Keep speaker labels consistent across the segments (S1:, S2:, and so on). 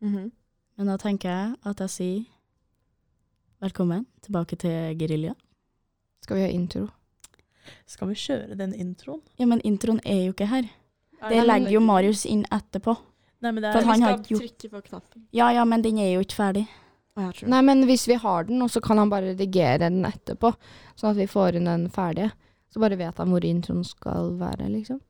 S1: Mm-hmm.
S2: Mhm.
S3: Men da tenker jeg at jeg sier velkommen tilbake til Gerilja.
S2: Skal vi ha intro?
S4: Skal vi kjøre den introen?
S3: Ja, men introen er jo ikke her.
S4: Nei,
S3: Det
S4: men-
S3: legger jo Marius inn etterpå.
S4: Nei, men det
S3: for
S4: er,
S3: at han
S1: Eh, vi
S3: har
S1: skal
S3: gjort-
S1: trykke på knappen.
S3: Ja ja, men den er jo ikke ferdig.
S1: Å, ja, true.
S2: Nei, men hvis vi har den, og så kan han bare redigere den etterpå, sånn at vi får inn den ferdige. Så bare vet han hvor introen skal være, liksom.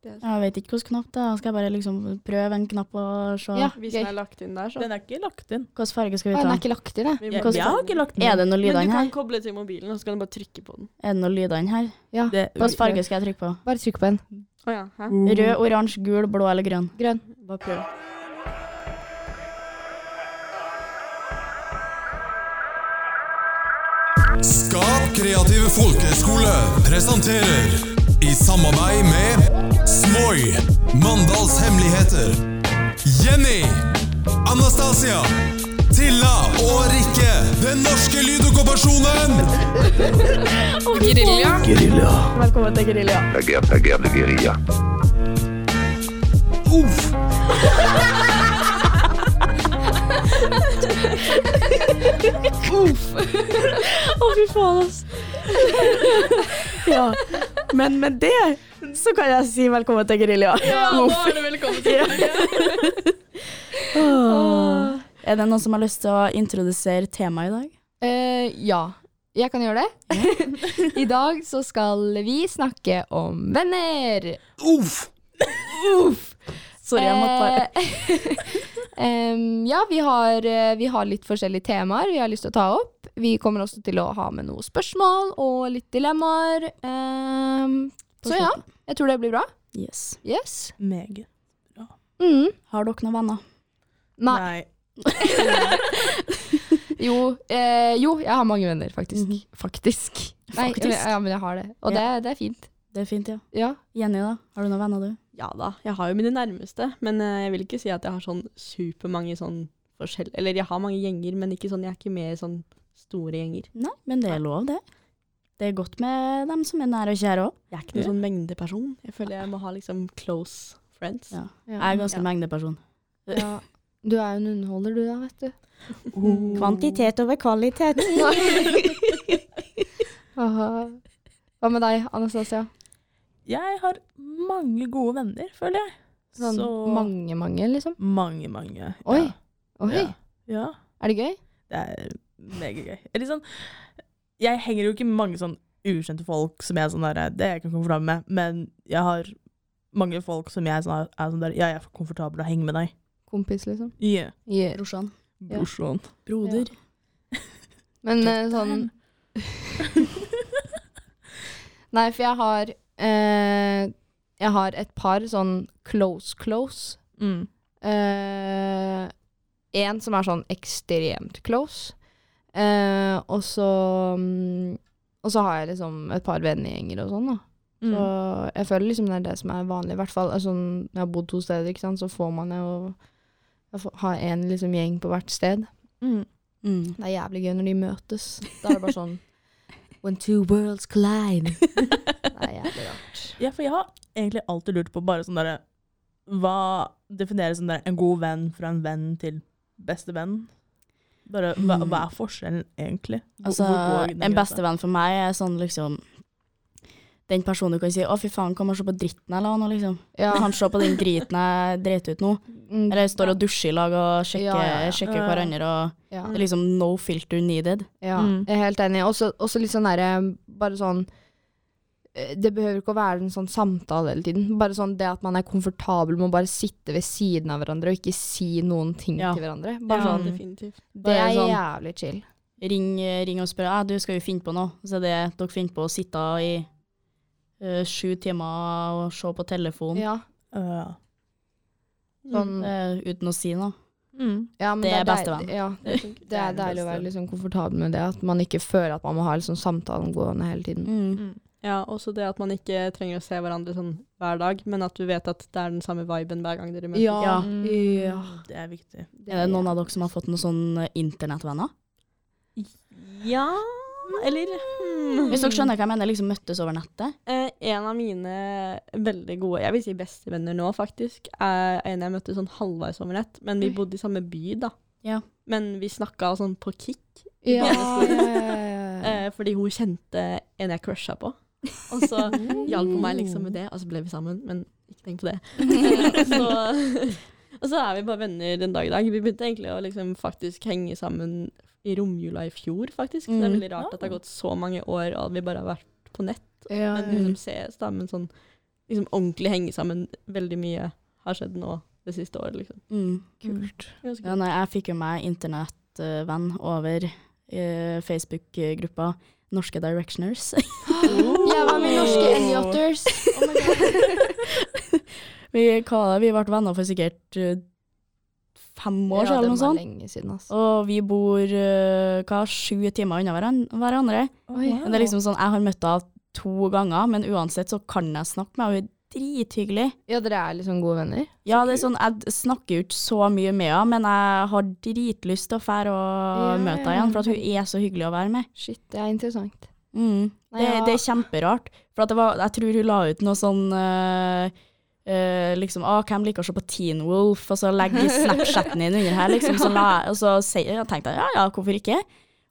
S1: Det er-
S3: Jeg vet ikke hvilken knapp det er. Skal jeg bare liksom prøve en knapp og se
S2: Ja.
S1: Vi som
S2: gøy.
S1: er lagt inn der, så.
S4: den er ikke lagt inn.
S3: hvilken farge skal
S2: Å,
S3: vi
S2: den
S3: ta?
S2: er ikke lagt i det.
S1: Vi
S4: Jeg,
S1: må-
S3: Hvordan-
S4: jeg har ikke lagt den
S3: Er
S4: inn.
S3: det noen
S1: Men
S3: lyder
S1: du kan
S3: her?
S1: koble til mobilen, og så kan du bare trykke på den.
S3: Er det noen lyder her?
S2: Ja.
S4: Det,
S3: Hvilken farge skal jeg trykke på?
S2: Bare trykk på den.
S1: Å ja, hæ?
S3: Rød, oransje, gul, blå eller grønn?
S2: Grønn.
S1: Bare prøv.
S5: Skap kreativ folkeskole presenterer i samarbeid med Smoi, Mandals hemmeligheter, Jenny, Anastasia, Tilla og Rikke, den norske lydokkupasjonen.
S1: Velkommen til Gerilja.
S6: La guerre, la guerre de guérilla.
S3: Å, fy faen, ass.
S2: Ja.
S3: Men med det så kan jeg si velkommen til Gerilja.
S1: er du velkommen til
S3: Er det noen som har lyst til å introdusere temaet i dag?
S2: Eh, ja. Jeg kan gjøre det. I dag så skal vi snakke om venner.
S5: Uff!
S3: Sorry, jeg måtte bare
S2: Eh, em, ja, vi har, eh, vi har litt forskjellige temaer vi har lyst til å ta opp. Vi kommer også til å ha med noen spørsmål og litt dilemmaer. Em,
S3: På
S2: så ja, jeg tror det blir bra.
S3: Yes.
S2: Yes.
S4: Meget.
S2: Mm.
S3: Har dere noen venner?
S2: Nei.
S4: Nei.
S2: Jo, eh, jo, jeg har mange venner, faktisk.
S3: Mhm.
S2: Faktisk. Nei,
S3: Faktisk.
S2: Ja, men jeg har det. Og
S3: Ja.
S2: det, det er fint.
S3: Det er fint, ja.
S2: Ja.
S3: Jenny, da? Har du noen venner, du?
S1: Ja da, jeg har jo mine nærmeste, men eh, jeg vil ikke si at jeg har sånn supermange sånn forskjell... Eller jeg har mange gjenger, men ikke sånn, jeg er ikke med i sånn store gjenger.
S3: Nei, men det er lov, det. Det er godt med dem som er nære og kjære òg.
S1: Jeg er ikke noen
S4: Ja.
S1: sånn mengdeperson. Jeg føler jeg må ha liksom close friends.
S3: Ja. Jeg er ganske
S1: Ja.
S3: mengdeperson.
S2: Ja. Du er jo en underholder, du da, vet du.
S3: Mm. Kvantitet over kvalitet.
S2: Aha. Hva med deg, Anastasia?
S4: Jeg har mange gode venner, føler jeg.
S2: Sånn
S4: Så
S2: mange, mange, liksom?
S4: Mange, mange.
S2: Oi.
S4: Ja.
S2: Oi,
S4: Ja. ja.
S2: er det gøy?
S4: Det er megagøy. Eller sånn Jeg henger jo ikke med mange sånn ukjente folk som jeg er sånn der Det er jeg ikke komfortabel med, men jeg har mange folk som jeg er sånn, er sånn der Ja, jeg er komfortabel med å henge med deg.
S2: Kompis, liksom?
S4: Yeah.
S2: Yeah.
S3: Brorsan.
S2: Ja.
S4: Brorsan.
S3: Broder.
S2: Men eh, sånn Nei, for jeg har eh, Jeg har et par sånn close-close.
S4: Mm.
S2: Eh, en som er sånn ekstremt close. Eh, og så mm, Og så har jeg liksom et par vennegjenger og sånn, da.
S4: Mm.
S2: Så jeg føler liksom det er det som er vanlig, i hvert fall. Altså, når jeg har bodd to steder, ikke sant, så får man jo jeg får- ha en liksom, gjeng på hvert sted.
S4: Mm.
S3: Mm.
S2: Det er jævlig gøy når de møtes. Da er det bare sånn When two worlds collide. Det er jævlig rart.
S4: Ja, for jeg har egentlig alltid lurt på bare sånn derre Hva defineres som der, en god venn fra en venn til beste venn? Bare, hva,
S3: Mm.
S4: hva er forskjellen, egentlig? Hvor-
S3: Altså,
S4: hvor går den
S3: en
S4: grensa?
S3: bestevenn for meg er sånn liksom Den personen du kan si 'Å, fy faen, kom og se på dritten jeg la nå', liksom.
S2: Ja.
S3: Kan se på den driten jeg dreit ut nå.
S2: mm,
S3: Eller står og dusjer i lag og sjekker,
S2: Ja, ja, ja.
S3: sjekker
S4: Ja, ja.
S3: hverandre og
S2: ja.
S3: det er Liksom no filter needed.
S2: Ja,
S4: Mm.
S2: jeg er helt enig. Også, også litt sånn derre Bare sånn eh, Det behøver ikke å være en sånn samtale hele tiden. Bare sånn det at man er komfortabel med å bare sitte ved siden av hverandre og ikke si noen ting
S3: Ja.
S2: til hverandre.
S1: Ja,
S2: Bare sånn,
S1: definitivt.
S2: Det
S3: Bare
S2: er
S3: sånn-
S2: jævlig chill.
S3: Ring, ring og spør «Ah, du skal jo finne på noe. Så er det dere finner på å sitte i eh, sju timer og se på telefon
S2: Ja,
S4: Ja.
S2: sånn,
S3: eh, uten å si noe.
S4: Mm.
S2: ja, men
S3: det er
S2: deil-
S3: bestevenn.
S2: Ja,
S1: Det funker.
S2: det er
S4: det
S2: deilig å
S4: beste.
S2: være liksom komfortabel med det. At man ikke føler at man må ha liksom samtalen gående hele tiden.
S3: Mm.
S1: Ja, også det at man ikke trenger å se hverandre sånn hver dag, men at du vet at det er den samme viben hver gang dere møtes.
S3: Ja.
S2: ja.
S4: Det er viktig.
S3: sånn, eh, Er det noen av dere som har fått noen sånne internettvenner?
S1: Ja Eller hmm.
S3: Hvis dere skjønner hva jeg mener, liksom møttes over nettet.
S1: Eh, en av mine veldig gode, jeg vil si bestevenner nå faktisk, er en jeg møtte sånn halvveis over nett, men vi
S2: Oi.
S1: bodde i samme by da.
S3: Ja.
S1: Men vi snakka sånn på kick,
S2: Ja,
S1: Ja.
S2: ja, ja, ja.
S1: eh, fordi hun kjente en jeg crusha på. Og så hjalp hun meg liksom med det, og så ble vi sammen, men ikke tenk på det. Eh, og så, og så er vi bare venner den dag i dag. Vi begynte egentlig å liksom faktisk henge sammen i romjula i fjor, faktisk. Så det er
S3: Mm.
S1: veldig rart at det har gått så mange år, og vi bare har vært på nett.
S2: ja,
S1: Men
S2: ja.
S1: liksom ses da, men sånn liksom ordentlig henge sammen. Veldig mye har skjedd nå det siste året, liksom.
S3: Mm.
S4: Kult.
S3: Ja, nei, jeg fikk jo meg internettvenn over eh, Facebook-gruppa Norske Directioners.
S2: Jeg var med i norske Elioters.
S3: vi, hva, vi ble venner for sikkert eh, fem år siden, eller noe sånt.
S2: lenge siden, altså.
S3: Og vi bor eh, hva, sju timer unna hveran- hverandre.
S2: Oi.
S3: Men det er liksom sånn, Jeg har møtt henne to ganger, men uansett så kan jeg snakke med henne. Hun er drithyggelig.
S2: Ja, dere er liksom gode venner?
S3: Ja, det er sånn, Jeg d- snakker jo ikke så mye med henne, men jeg har dritlyst til å fære og
S2: Ja,
S3: møte henne
S2: ja, ja.
S3: igjen, for at hun er så hyggelig å være med.
S2: Shit, det er interessant.
S3: Mm.
S2: Nei,
S3: Det,
S2: ja.
S3: det er kjemperart. For at det var, jeg tror hun la ut noe sånn eh, eh, liksom, ah, Hvem liker å se på Teen Wolf? Og så legger Snapchaten din under her, liksom. Så la, jeg- og så sier, jeg tenkte jeg ja, ja, hvorfor ikke?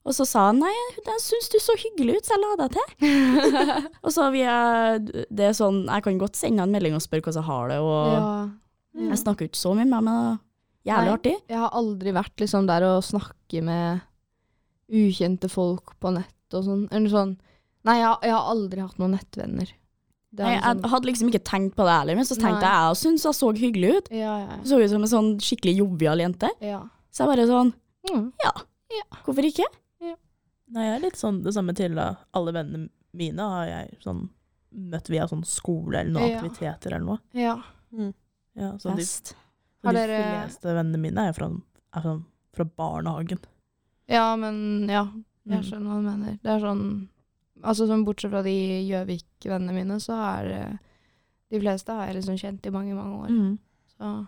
S3: Og så sa han nei, jeg syns du så hyggelig ut, så jeg la deg til. og så vi er, det er sånn, Jeg kan godt sende han en melding og spørre hvordan jeg har det. Og
S2: Ja.
S3: Jeg snakker jo ikke så mye med ham, men jævlig
S2: Nei.
S3: artig.
S2: Jeg har aldri vært liksom der og snakke med ukjente folk på nett og sånn. Eller sånn. Nei, jeg, har- jeg har aldri hatt noen nettvenner. Det
S3: Nei,
S2: er liksom-
S3: jeg hadde liksom ikke tenkt på det heller, men så tenkte
S2: Nei.
S3: jeg jeg syns jeg så hyggelig ut.
S2: Ja, ja,
S3: Så ut som en sånn skikkelig jovial jente.
S2: ja.
S3: Så jeg bare sånn
S2: ja.
S3: Hvorfor ikke?
S4: Nei, jeg er litt sånn det samme til da. Alle vennene mine har jeg sånn møtt via sånn skole eller noen
S2: Ja.
S4: aktiviteter eller noe.
S2: ja.
S1: Mm.
S4: Ja, så
S1: Sånn
S4: de,
S3: Fest.
S2: Har
S4: så de
S2: dere-
S4: fleste vennene mine er fra, er fra, fra barnehagen.
S2: Ja, men ja. Jeg
S4: Mm.
S2: skjønner hva du mener. Det er sånn Altså sånn bortsett fra de Gjøvik-vennene mine, så er det De fleste har jeg liksom kjent i mange, mange år.
S4: Mm.
S2: Så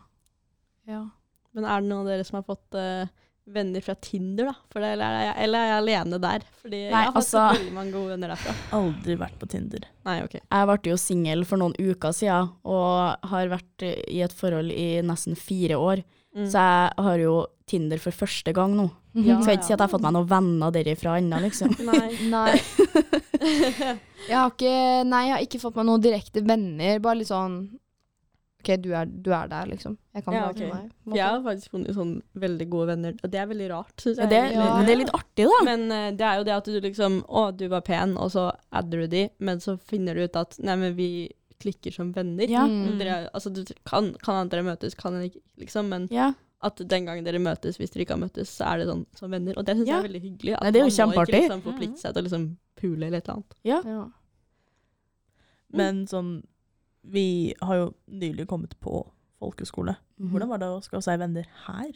S2: ja.
S1: Men er det noen av dere som har fått eh, venner fra Tinder, da? For det, eller, er jeg, eller er jeg alene der? Fordi jeg
S3: Nei,
S1: har faktisk
S3: altså-
S1: veldig mange gode venner derfra.
S4: Aldri vært på Tinder.
S1: Nei, ok.
S3: Jeg ble jo singel for noen uker siden, og har vært i et forhold i nesten fire år.
S1: Mm.
S3: Så jeg har jo Tinder for første gang nå.
S1: Ja.
S3: Skal ikke si at jeg har fått meg noen venner derifra ennå, liksom.
S1: Nei.
S2: Nei. Jeg har ikke Nei, jeg har ikke fått meg noen direkte venner. Bare litt sånn OK, du er, du er der, liksom. Jeg kan
S1: Ja,
S2: prate
S1: ok.
S2: med deg. på en
S1: For
S2: måte.
S1: jeg har faktisk funnet sånn veldig gode venner, og det er veldig rart, syns
S3: Det,
S1: jeg.
S3: det,
S2: Ja.
S3: det er litt sånn. artig, da.
S1: Men eh, det er jo det at du liksom Å, du var pen, og så adder du de, men så finner du ut at nei, men vi klikker som venner.
S3: Ja.
S2: Mm.
S1: Dere, altså, du kan, kan at dere møtes, kan dere ikke, liksom, men
S3: ja.
S1: at den gangen dere møtes, hvis dere ikke har møttes, så er det sånn som venner. Og det syns
S3: Ja.
S1: jeg er veldig hyggelig. At
S3: Nei, det er jo
S1: man må
S3: kjempeartig.
S1: ikke liksom forplikte seg til å liksom pule eller et eller annet.
S2: Ja. Mm.
S4: Men sånn Vi har jo nylig kommet på folkeskole.
S2: Mhm.
S3: Mhm.
S4: Hvordan var det å skal si venner her?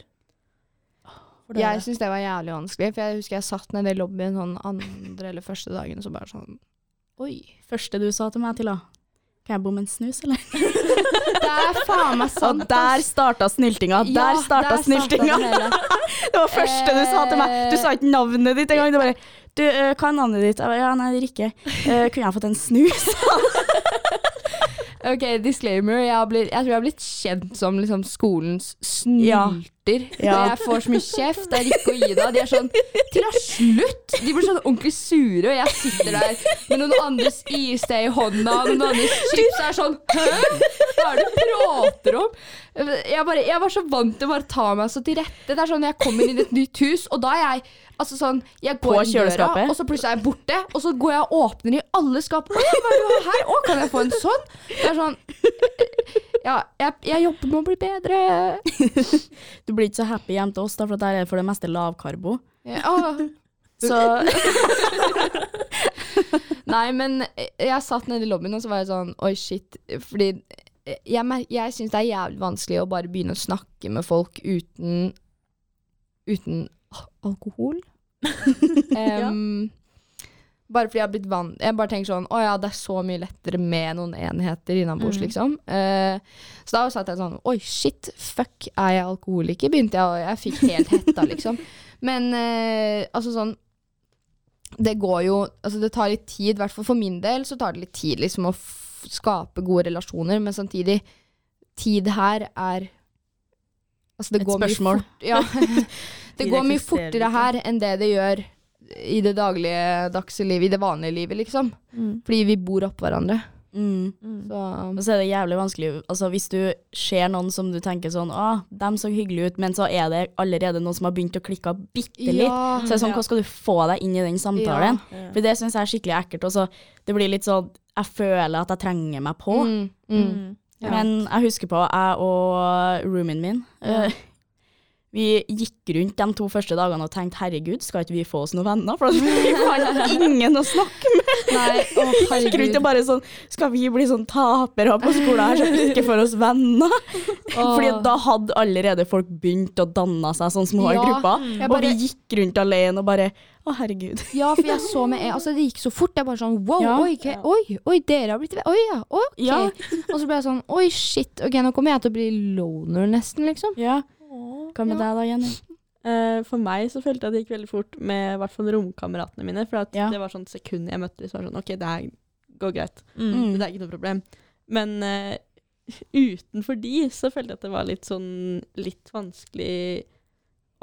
S4: For dere?
S2: Jeg syns det var jævlig vanskelig, for jeg husker jeg satt nede i lobbyen sånn andre eller første dagen, og så bare sånn Oi.
S3: Første du sa til meg til, da. Kan jeg bomme en snus, eller?
S2: Det er faen meg sant.
S3: Og der
S2: ass.
S3: starta snyltinga!
S2: Ja,
S3: Der starta
S2: der
S3: snyltinga!
S2: den hele.
S3: Det var første du sa til meg. Du sa ikke navnet ditt engang. Du bare Du, eh, hva er navnet ditt? Jeg bare, ja, nei, Rikke. Eh, kunne jeg fått en snus?
S2: Ok, disclaimer. Jeg, har blitt, jeg tror jeg har blitt kjent som liksom, skolens snylter.
S3: Ja.
S2: Jeg får så mye kjeft. Det er Rikke og Ida. De er sånn Til å slutt! De blir sånn ordentlig sure, og jeg sitter der med noen andres iste i hånda og noen andres chips og er sånn Hæ? Hva er det du prater om? Jeg, bare, jeg var så vant til å bare ta meg så til rette. Det er sånn, Jeg kommer inn i et nytt hus, og da er jeg Altså sånn, jeg går
S3: På
S2: inn døra,
S3: kjøleskapet?
S2: og så plutselig er jeg borte. Og så går jeg og åpner i alle skap. Å, hva er det du har her? Å, kan jeg få en sånn? Det er sånn Ja, jeg, jeg jobber med å bli bedre.
S3: Du blir ikke så happy hjemme til oss, da, for der er det for det meste lavkarbo.
S2: Ja, åh.
S3: Så
S2: Nei, men jeg satt nede i lobbyen, og så var jeg sånn Oi, shit. Fordi jeg, mer- jeg syns det er jævlig vanskelig å bare begynne å snakke med folk uten Uten a- alkohol. Em, Bare fordi jeg har blitt vant Jeg bare tenker sånn Å ja, det er så mye lettere med noen enheter innabords,
S3: Mm.
S2: liksom. Eh, så da satt jeg sånn Oi, shit. Fuck, er jeg alkoholiker? Begynte jeg, og jeg fikk helt hetta, liksom. Men eh, altså sånn det går jo Altså, det tar litt tid, i hvert fall for min del, så tar det litt tid liksom å f skape gode relasjoner, men samtidig Tid her er Altså, det
S3: Et
S2: går
S3: spørsmål.
S2: mye fort Ja. det
S4: Tid
S2: går mye
S4: eksisterer
S2: fortere
S4: ikke.
S2: her enn det det gjør i det daglige dagse livet, i det vanlige livet, liksom. Fordi vi bor oppå hverandre.
S3: Mm.
S2: Så um,
S3: Og så er det jævlig vanskelig altså, Hvis du ser noen som du tenker sånn Å, dem så hyggelig ut, men så er det allerede noen som har begynt å klikke av bitte litt.
S2: Ja.
S3: Så er det sånn, hva skal du få deg inn i den samtalen?
S4: Ja.
S3: For det syns jeg er skikkelig ekkelt. Og så det blir litt sånn Jeg føler at jeg trenger meg på.
S2: Mm, mm. Ja.
S3: Men jeg husker på jeg og roomien min. eh, vi gikk rundt de to første dagene og tenkte herregud, skal ikke vi få oss noen venner? For vi fant ingen å snakke med.
S2: Nei, å
S3: Gikk rundt
S2: herregud.
S3: og bare sånn Skal vi bli sånn tapere på skolen her som ikke får oss venner?
S2: Åh.
S3: Fordi da hadde allerede folk begynt å danne seg sånn små
S2: Ja,
S3: grupper.
S2: jeg
S3: Og vi
S2: bare-
S3: gikk rundt alene og bare Å, herregud.
S2: Ja, for jeg så med en Altså, det gikk så fort. Jeg bare sånn wow,
S3: Ja.
S2: oi, ok, oi, oi, dere har blitt Oi, ja, ok.
S3: Ja.
S2: Og så ble jeg sånn oi, shit, ok, nå kommer jeg til å bli loner, nesten, liksom.
S3: Ja. Hva med deg da, Jenny?
S1: Eh, for meg så følte jeg det gikk veldig fort med i hvert fall romkameratene mine. For at
S3: Ja.
S1: det var sånn sekund jeg møtte dem, så var det sånn OK, det her går greit.
S4: Mm.
S1: Det er ikke noe problem. Men eh, utenfor de så følte jeg at det var litt sånn litt vanskelig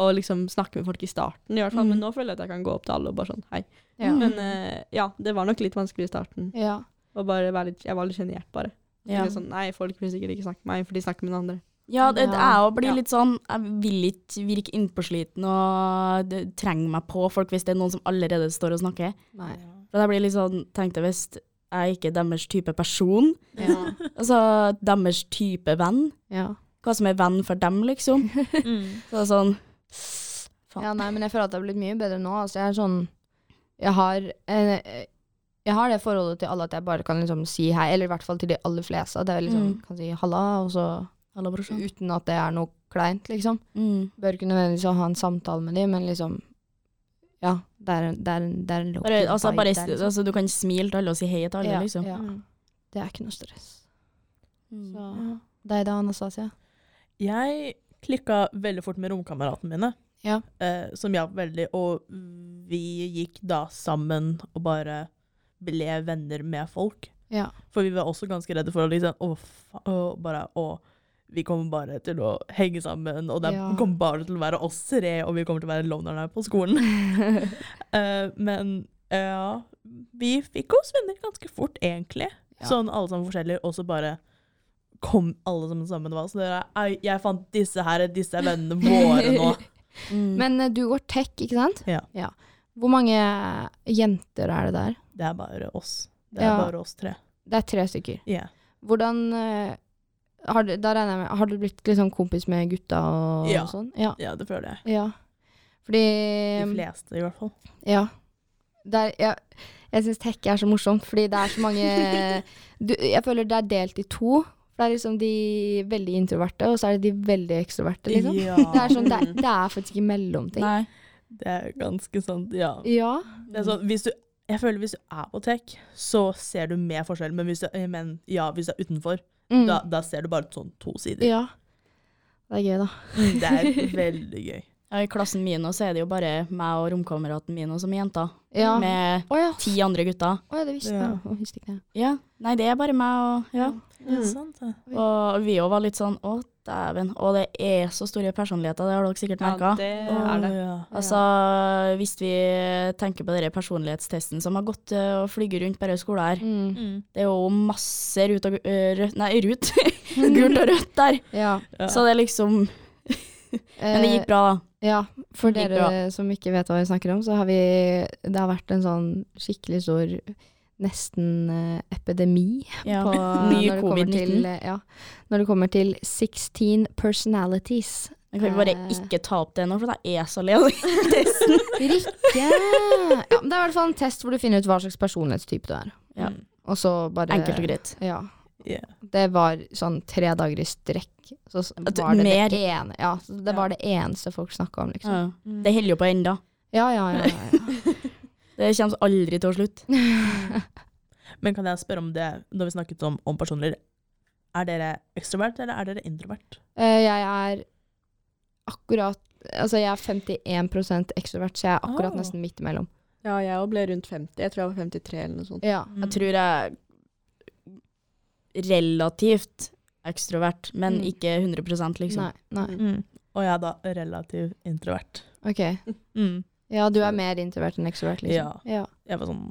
S1: å liksom snakke med folk i starten, i hvert fall.
S3: Mm.
S1: Men nå føler jeg at jeg kan gå opp til alle og bare sånn hei.
S2: Ja.
S1: Men eh, ja, det var nok litt vanskelig i starten.
S2: Ja.
S1: Og bare være litt, jeg var litt sjenert, bare.
S3: Ja.
S1: Litt Sånn, nei, folk vil sikkert ikke snakke med meg, for de snakker med noen andre.
S3: Ja, det, det
S2: Ja.
S3: er å bli litt sånn Jeg vil ikke virke innpåsliten og det- trenge meg på folk hvis det er noen som allerede står og snakker.
S2: Nei.
S3: For jeg blir litt sånn, tenkte hvis jeg ikke er deres type person,
S2: Ja.
S3: altså deres type venn,
S2: Ja.
S3: hva som er venn for dem, liksom.
S2: Mm.
S3: Så det er sånn Faen.
S2: ja, nei, men jeg føler at det har blitt mye bedre nå. Altså, jeg er sånn Jeg har eh, eh, jeg har det forholdet til alle at jeg bare kan liksom si hei, eller i hvert fall til de aller fleste. At jeg liksom
S3: Mm. Sånn.
S2: kan si halla, og så
S3: Hallo, brorsan.
S2: uten at det er noe kleint, liksom.
S3: Mm.
S2: Bør ikke nødvendigvis ha en samtale med dem, men liksom Ja, det er en, det er en, det er en low-key
S3: Bare, altså,
S2: vibe
S3: bare,
S2: der, liksom.
S3: altså, du kan smile til alle og si hei til alle, liksom.
S2: Ja.
S4: Mm.
S2: Det er ikke noe stress.
S3: Mm.
S2: Så deg da, Anastasia?
S4: Jeg klikka veldig fort med romkameratene mine,
S2: Ja.
S4: eh, som hjalp veldig. Og vi gikk da sammen og bare ble venner med folk.
S2: Ja.
S4: For vi var også ganske redde for å liksom Å, fa å, bare, å vi kommer bare til å henge sammen, og det
S2: Ja.
S4: kommer bare til å være oss tre, og vi kommer til å være lonerne på skolen. Eh, men ja, vi fikk oss venner ganske fort, egentlig.
S2: Ja.
S4: Sånn alle sammen forskjellige, og så bare kom alle sammen sammen. Hva? Så dere, «Ei, jeg fant disse her, disse er vennene våre nå.
S3: Mm.
S2: Men eh, du går tech, ikke sant?
S4: Ja.
S2: Hvor mange jenter er det der?
S4: Det er bare oss. Det er
S2: Ja.
S4: bare oss tre.
S2: Det er tre stykker.
S4: Ja.
S2: Hvordan eh, har du, da regner jeg med, har du blitt liksom kompis med gutta og,
S4: Ja.
S2: sånn? Ja.
S4: ja, det føler jeg.
S2: ja. Fordi um,
S4: De fleste, i hvert fall.
S2: Ja. Det er, jeg jeg syns tech er så morsomt, fordi det er så mange du, Jeg føler det er delt i to. For det er liksom de veldig introverte, og så er det de veldig ekstroverte, liksom.
S4: Ja,
S2: Det er, sånn, det, er- det er faktisk ikke mellomting.
S3: Nei.
S4: det er ganske sant, ja.
S2: Ja.
S4: Det er sånn, hvis du, jeg føler hvis du er på tech, så ser du mer forskjell, men hvis du, men, ja, hvis du er utenfor,
S2: Mm.
S4: da, da ser du bare sånn to sider.
S2: ja. Det er gøy, da.
S4: Det er veldig gøy.
S3: Ja, I klassen min også er det jo bare meg og romkameraten min og som jenter.
S2: Ja.
S3: Med
S2: Å ja.
S3: ti andre gutter.
S2: Å ja, det visste
S4: Ja.
S2: jeg. Å, visste ikke det.
S3: Ja, nei, det er bare meg og ja.
S4: Det er
S1: Mm.
S4: sant, det.
S3: Og vi òg var litt sånn å, dæven. Og det er så store personligheter, det har dere sikkert
S1: Ja,
S3: merka.
S1: det
S4: Å,
S1: er det.
S4: Ja.
S3: Altså, hvis vi tenker på denne personlighetstesten som har gått ø, og flyger rundt bare skolen her,
S2: Mm.
S3: det er jo masse rut og ø, rødt Nei, rut! Gult og rødt der.
S2: Ja.
S4: Ja.
S3: Så det er liksom Men det gikk bra, da.
S2: Ja, for
S3: Det gikk
S2: dere som ikke vet hva vi snakker om, så har vi Det har vært en sånn skikkelig stor nesten eh, epidemi
S3: Ja.
S2: på
S3: Mye
S2: når det kommer
S3: covid-19.
S2: til, eh, Ja, når det kommer til 16 personalities.
S3: Men kan vi bare
S2: Eh.
S3: ikke ta opp det nå, for jeg er så lei av den testen.
S2: Rikke! Ja, men det er i hvert fall en test hvor du finner ut hva slags personlighetstype du er.
S3: Ja.
S2: Og så bare
S3: Enkelt og greit.
S2: Ja.
S4: Ja.
S2: Det var sånn tre dager i strekk. Så s-
S3: At
S2: var det
S3: mer-
S2: det ene Ja, så det var det eneste folk snakka om, liksom.
S3: Ja.
S1: Mm.
S3: Det holder jo på enda.
S2: Ja, ja, ja. ja, ja.
S3: Det kommer aldri til å slutte.
S4: Men kan jeg spørre om det, når vi snakket om, om personer, er dere ekstrovert eller er dere introvert?
S2: Eh, jeg er akkurat Altså, jeg er 51 ekstrovert, så jeg er akkurat
S4: Oh.
S2: nesten midt imellom.
S1: Ja, jeg òg ble rundt 50. Jeg tror jeg var 53 eller noe sånt.
S2: Ja.
S3: Jeg tror jeg er relativt ekstrovert, men
S2: Mm.
S3: ikke 100 liksom.
S2: Nei. nei.
S4: Mm. Og jeg er da relativt introvert.
S2: Ok.
S4: Mm.
S2: Ja, du er mer introvert enn ekstrovert, liksom. Ja.
S4: Jeg var sånn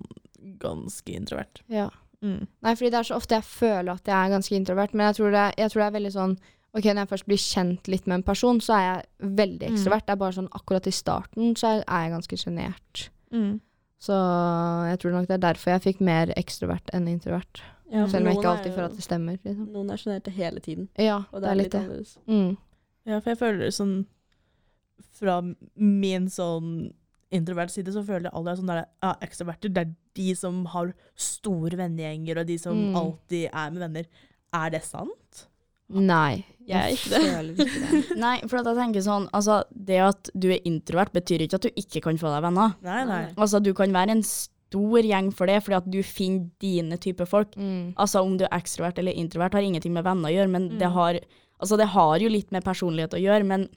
S4: ganske introvert.
S2: ja.
S4: Mm.
S2: Nei, fordi det er så ofte jeg føler at jeg er ganske introvert, men jeg tror det, jeg tror det er veldig sånn Ok, når jeg først blir kjent litt med en person, så er jeg veldig
S1: Mm.
S2: ekstrovert. Det er bare sånn akkurat i starten så er- er jeg ganske sjenert.
S1: Mm.
S2: Så jeg tror nok det er derfor jeg fikk mer ekstrovert enn introvert.
S1: Ja, for
S2: Selv om jeg
S1: noen
S2: ikke
S1: er
S2: alltid
S1: jo-
S2: føler at det stemmer. Liksom.
S1: Noen er sjenerte hele tiden,
S2: Ja,
S1: og det, er litt
S2: det.
S1: annerledes.
S2: Mm.
S4: Ja, for jeg føler sånn Fra min sånn introvert side så føler jeg alle er sånn der ja, ekstroverter. Det er de som har store vennegjenger, og de som
S2: Mm.
S4: alltid er med venner. Er det sant?
S2: Nei.
S1: Jeg er ikke det.
S2: føler ikke det.
S3: Nei, for at jeg tenker sånn, altså, det at du er introvert betyr ikke at du ikke kan få deg venner.
S4: Nei, nei.
S1: Nei.
S3: Altså, du kan være en stor gjeng for det, fordi at du finner dine type folk.
S2: Mm.
S3: Altså, om du er ekstrovert eller introvert har ingenting med venner å gjøre, men det, har, altså, det har jo litt med personlighet å gjøre, men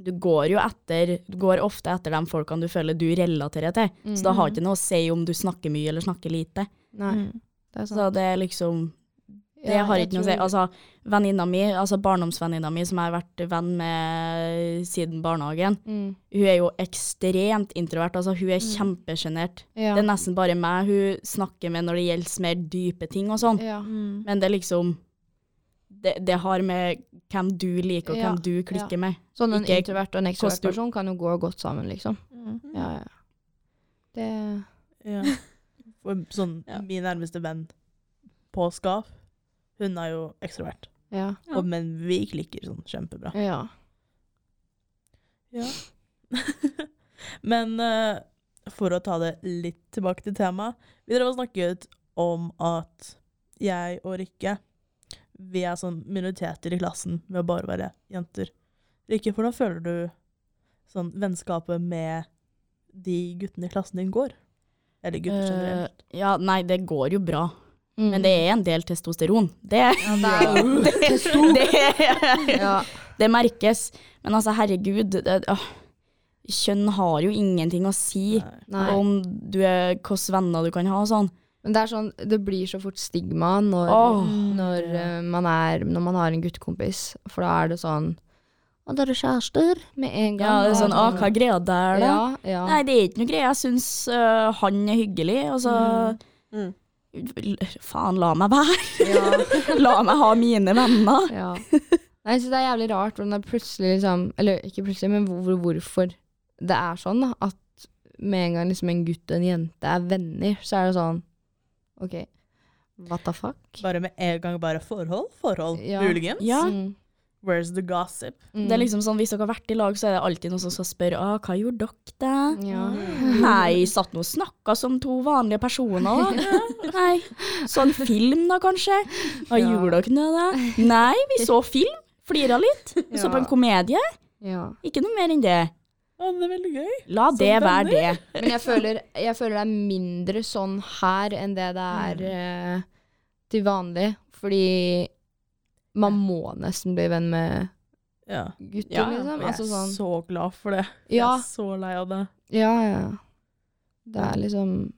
S3: du går jo etter, du går ofte etter de folkene du føler du relaterer til, så det har ikke noe å si om du snakker mye eller snakker lite.
S2: mm, Nei, det er sant.
S3: Så det er liksom, det
S2: Ja,
S3: har
S2: jeg
S3: ikke noe å si.
S2: tror-
S3: Altså, venninna mi, altså barndomsvenninna mi, som jeg har vært venn med siden barnehagen,
S2: mm.
S3: hun er jo ekstremt introvert, altså hun er kjempesjenert.
S2: ja.
S3: Det er nesten bare meg hun snakker med når det gjelder mer dype ting og sånn.
S2: ja.
S3: Men det er liksom det, det har med hvem du liker og
S2: Ja,
S3: hvem du klikker med.
S2: Sånn en
S3: Ikke-
S2: introvert og en ekstrovert
S3: koster-
S2: person kan jo gå godt sammen, liksom. Ja, ja. Det
S4: Ja. For sånn
S1: Ja.
S4: min nærmeste venn på Skap, hun er jo ekstrovert.
S2: Ja.
S1: Ja.
S4: Og, men vi klikker sånn kjempebra.
S2: Ja.
S4: Ja. Men eh, for å ta det litt tilbake til temaet Vi drev og snakket om at jeg og Rikke Vi er sånn minoriteter i klassen ved å bare være jenter. Rikke, hvordan føler du sånn vennskapet med de guttene i klassen din går? Eller gutter generelt.
S3: Eh, ja, nei, det går jo bra.
S2: Mm.
S3: Men det er en del testosteron. Det,
S2: Ja,
S3: det, det,
S2: ja.
S3: det merkes. Men altså, herregud, det, åh, kjønn har jo ingenting å si
S4: Nei.
S2: Nei.
S3: om du er, hvilke venner du kan ha og sånn.
S2: Men det er sånn, det blir så fort stigma når,
S3: Åh.
S2: når, eh, man, er, når man har en guttekompis. For da er det sånn Å, dere er kjærester? Med en gang.
S3: Ja, det er sånn,
S2: Da
S3: ah,
S2: er det
S3: hva er greia der da?
S2: Ja, ja.
S3: Nei, det er ikke noe greie. Jeg syns øh, han er hyggelig, og så
S1: Mm.
S3: L- Faen, la meg være!
S2: ja.
S3: La meg ha mine venner!
S2: Ja. Nei, så det er jævlig rart hvordan det plutselig liksom Eller ikke plutselig, men hvor, hvorfor det er sånn. da, At med en gang liksom en gutt og en jente er venner, så er det sånn OK, what the fuck?
S4: Bare med en gang bare forhold, forhold,
S2: Ja.
S4: muligens.
S3: Ja.
S2: Mm.
S4: Where's the gossip?
S2: Mm.
S3: Det er liksom sånn, Hvis dere har vært i lag, så er det alltid noen som skal spørre ah, 'hva gjorde dere da?'
S2: ja.
S3: Nei, satt nå og snakka som to vanlige personer, da? Nei. Så en film, da, kanskje? Hva
S2: Ja.
S3: gjorde dere nå, da? Nei, vi så film. Flira litt. Vi liksom så på en
S2: Ja.
S3: komedie.
S2: ja.
S3: Ikke noe mer enn det.
S4: Å, det er veldig gøy.
S3: La
S4: Som
S3: det være
S4: venner.
S3: det.
S2: Men jeg føler, jeg føler det er mindre sånn her enn det det er
S3: Mm.
S2: eh, til vanlig. Fordi man må nesten bli venn med
S4: Ja.
S2: gutter,
S1: Ja, ja.
S2: liksom.
S4: Jeg er
S2: Altså sånn
S4: så glad for det.
S2: Ja.
S4: Jeg er så lei av det.
S2: Ja, ja. ja. Det er liksom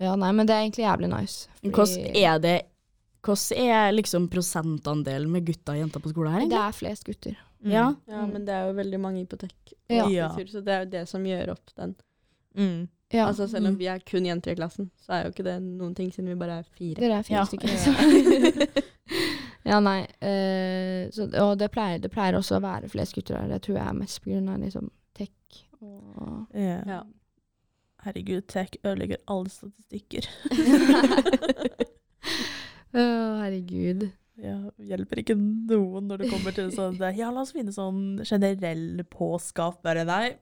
S2: Ja, nei, men det er egentlig jævlig nice. Fordi-
S3: Hvordan er det Hvordan er liksom prosentandelen med gutter og jenter på skolen her?
S2: Det
S3: egentlig?
S2: er flest gutter.
S4: Mm.
S3: Ja.
S1: Ja, men det er jo veldig mange på tech,
S2: Ja.
S1: og
S4: Ja.
S1: kultur, så det er jo det som gjør opp den.
S4: Mm.
S2: Ja.
S1: Altså, selv om vi er kun jenter i klassen, så er jo ikke det noen ting, siden vi bare er fire.
S2: Dere er fire
S3: Ja.
S2: stykker. liksom. ja, nei. eh, så, og det pleier, det pleier også å være flest gutter her. Det tror jeg er mest på grunn av liksom tech og
S4: Ja.
S1: Ja.
S4: Eh, Herregud, tech ødelegger alle statistikker.
S2: Å, herregud.
S4: Ja, hjelper ikke noen når det kommer til sånn det, Ja, la oss finne sånn generell påskap. Bare nei.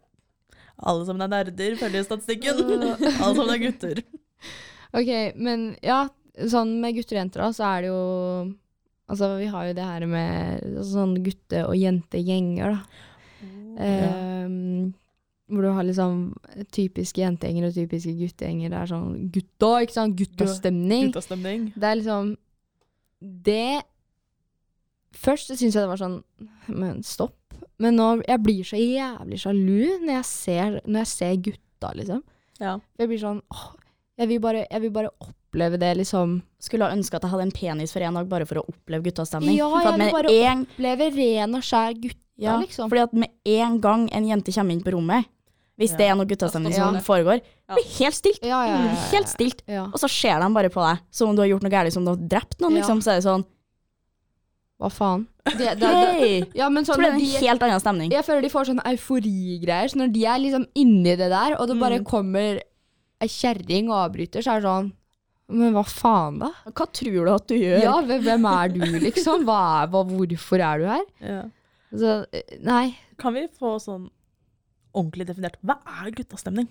S4: Alle sammen er nerder, følger statistikken. Alle sammen er gutter.
S2: Ok, men ja, sånn med gutter og jenter da, så er det jo Altså, vi har jo det her med sånn gutte- og jentegjenger, da. Ehm, hvor du har liksom typiske jentegjenger og typiske guttegjenger. Det er sånn gutta, ikke sant? Guttastemning.
S4: Guttastemning.
S2: Det er liksom Det Først så syns jeg det var sånn Men stopp. Men nå, jeg blir så jævlig sjalu når jeg ser, når jeg ser gutta, liksom.
S1: Ja.
S2: For jeg blir sånn åh, jeg vil, bare, jeg vil bare oppleve det, liksom.
S3: Skulle ha ønska at jeg hadde en penis for en dag, bare for å oppleve guttastemning.
S2: Ja,
S3: for
S2: jeg
S3: at
S2: vil
S3: med
S2: bare
S3: en,
S2: Oppleve ren og skjær gutta,
S3: ja,
S2: liksom.
S3: fordi at med en gang en jente kommer inn på rommet, hvis det er noe guttastemning
S2: Ja.
S3: som foregår,
S1: Ja.
S3: blir helt stilt.
S2: Ja, ja, ja, ja.
S3: Helt stilt.
S2: ja.
S3: Og så ser de bare på deg som om du har gjort noe galt, som om du har drept noen,
S2: Ja.
S3: liksom. Så er det sånn
S2: Hva faen? Det, det, det,
S3: Hei!
S2: ja, men
S3: Så
S2: sånn,
S3: ble det
S2: de,
S3: en helt annen stemning.
S2: jeg føler de får sånne euforigreier. Så når de er liksom inni det der,
S3: Mm.
S2: og det bare kommer ei kjerring og avbryter, så er det sånn Men hva faen, da?
S3: Hva tror du at du gjør?
S2: Ja, hvem- hvem er du, liksom? Hva er, hva, hvorfor er du her?
S4: Ja.
S2: Så, eh, nei.
S4: Kan vi få sånn ordentlig definert Hva er guttastemning?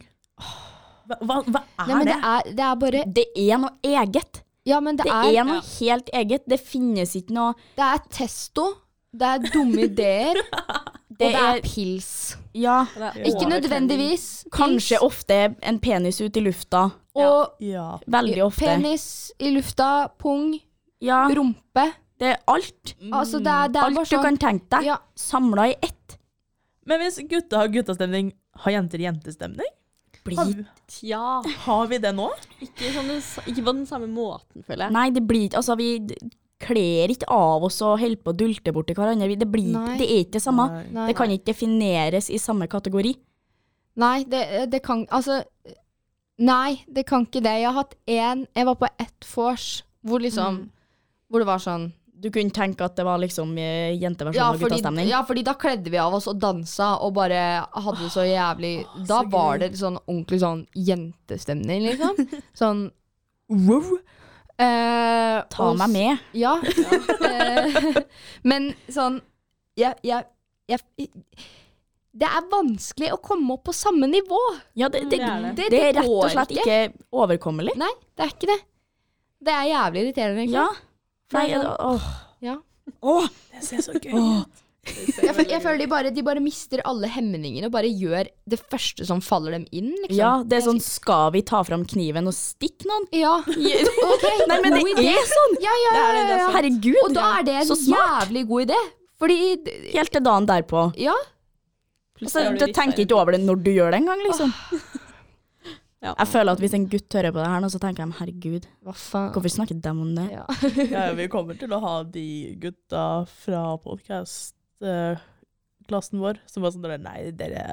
S4: Hva, hva, hva er
S2: nei men
S4: det?
S2: det er, det er bare
S3: Det er noe eget.
S2: Ja, men det,
S3: Det
S2: er,
S3: er noe helt eget. Det finnes ikke noe
S2: det er testo, det er dumme ideer,
S3: Det
S2: og det er
S3: er-
S2: pils.
S3: Ja,
S2: Ikke nødvendigvis.
S3: kanskje ofte en penis ut i lufta.
S2: Og
S4: Ja.
S3: Veldig ofte.
S2: penis i lufta, pung,
S3: Ja,
S2: rumpe.
S3: det er alt.
S2: Altså, det er, det er bare
S3: Alt du
S2: sånn
S3: kan tenke deg.
S2: Ja.
S3: Samla i ett.
S4: Men hvis gutta har guttastemning, har jenter jentestemning? Har,
S3: Blir.
S1: Tja.
S4: har vi det nå?
S1: Ikke, sånn, den s- ikke på den samme måten, føler jeg.
S3: Nei, det blir ikke Altså, vi kler ikke av oss og holder på å dulte borti hverandre. Vi- Det, blir,
S2: Nei.
S3: det er ikke det samme.
S2: Nei,
S3: Det kan ikke defineres i samme kategori.
S2: Nei, det, det kan Altså Nei, det kan ikke det. Jeg har hatt én Jeg var på ett vors hvor liksom
S3: Mm.
S2: Hvor det var sånn
S3: Du kunne tenke at det var liksom eh, jenteversjonen
S2: ja
S3: av
S2: fordi,
S3: guttastemning.
S2: ja, fordi da kledde vi av oss og dansa og bare hadde det så jævlig Da var det sånn ordentlig sånn jentestemning, liksom. sånn wow. Eh,
S3: Ta
S2: og
S3: meg
S2: s-
S3: med.
S2: Ja. Eh, men sånn jeg, jeg, jeg Det er vanskelig å komme opp på samme nivå.
S3: Ja,
S2: Mm,
S3: det, det,
S1: Det er det.
S3: det, det er rett og
S2: går
S3: slett
S2: ikke.
S3: ikke overkommelig.
S2: Nei, det er ikke det. Det er jævlig irriterende, egentlig.
S3: Ja. Nei, åh.
S2: Ja.
S3: Åh.
S4: Det ser så gøy
S3: Åh.
S2: Jeg, fø- jeg føler de bare, de bare mister alle hemningene og bare gjør det første som faller dem inn, liksom.
S3: Ja, det er sånn Skal vi ta fram kniven og stikke noen?
S2: Ja. Ok,
S3: Nei, men
S2: god
S3: det
S2: idé.
S3: er sånn!
S2: Ja, ja, ja, ja, ja.
S3: Herregud,
S2: Og da er det en
S3: så smart!
S2: jævlig god idé. Fordi d-
S3: Helt til dagen derpå.
S2: Ja.
S3: Altså, du tenker ikke over det når du gjør det engang, liksom.
S1: Ja.
S3: Jeg føler at hvis en gutt hører på det her nå, så tenker jeg herregud,
S2: Hva faen?
S3: hvorfor snakker de om det?
S2: Ja.
S4: Ja, vi kommer til å ha de gutta fra podkast-klassen vår som var sånn der, Nei, dere,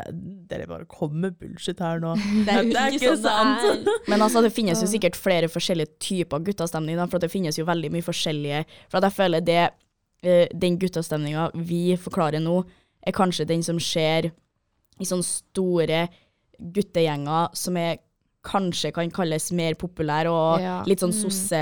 S4: dere bare kommer med bullshit her nå.
S1: Det
S4: Det er ikke sant.
S3: Men altså, det finnes jo sikkert flere forskjellige typer guttastemning, da, for at det finnes jo veldig mye forskjellige For at jeg føler det eh, Den guttastemninga vi forklarer nå, er kanskje den som skjer i sånne store guttegjenger som er kanskje kan kalles mer populære og
S2: Ja.
S3: litt sånn sosse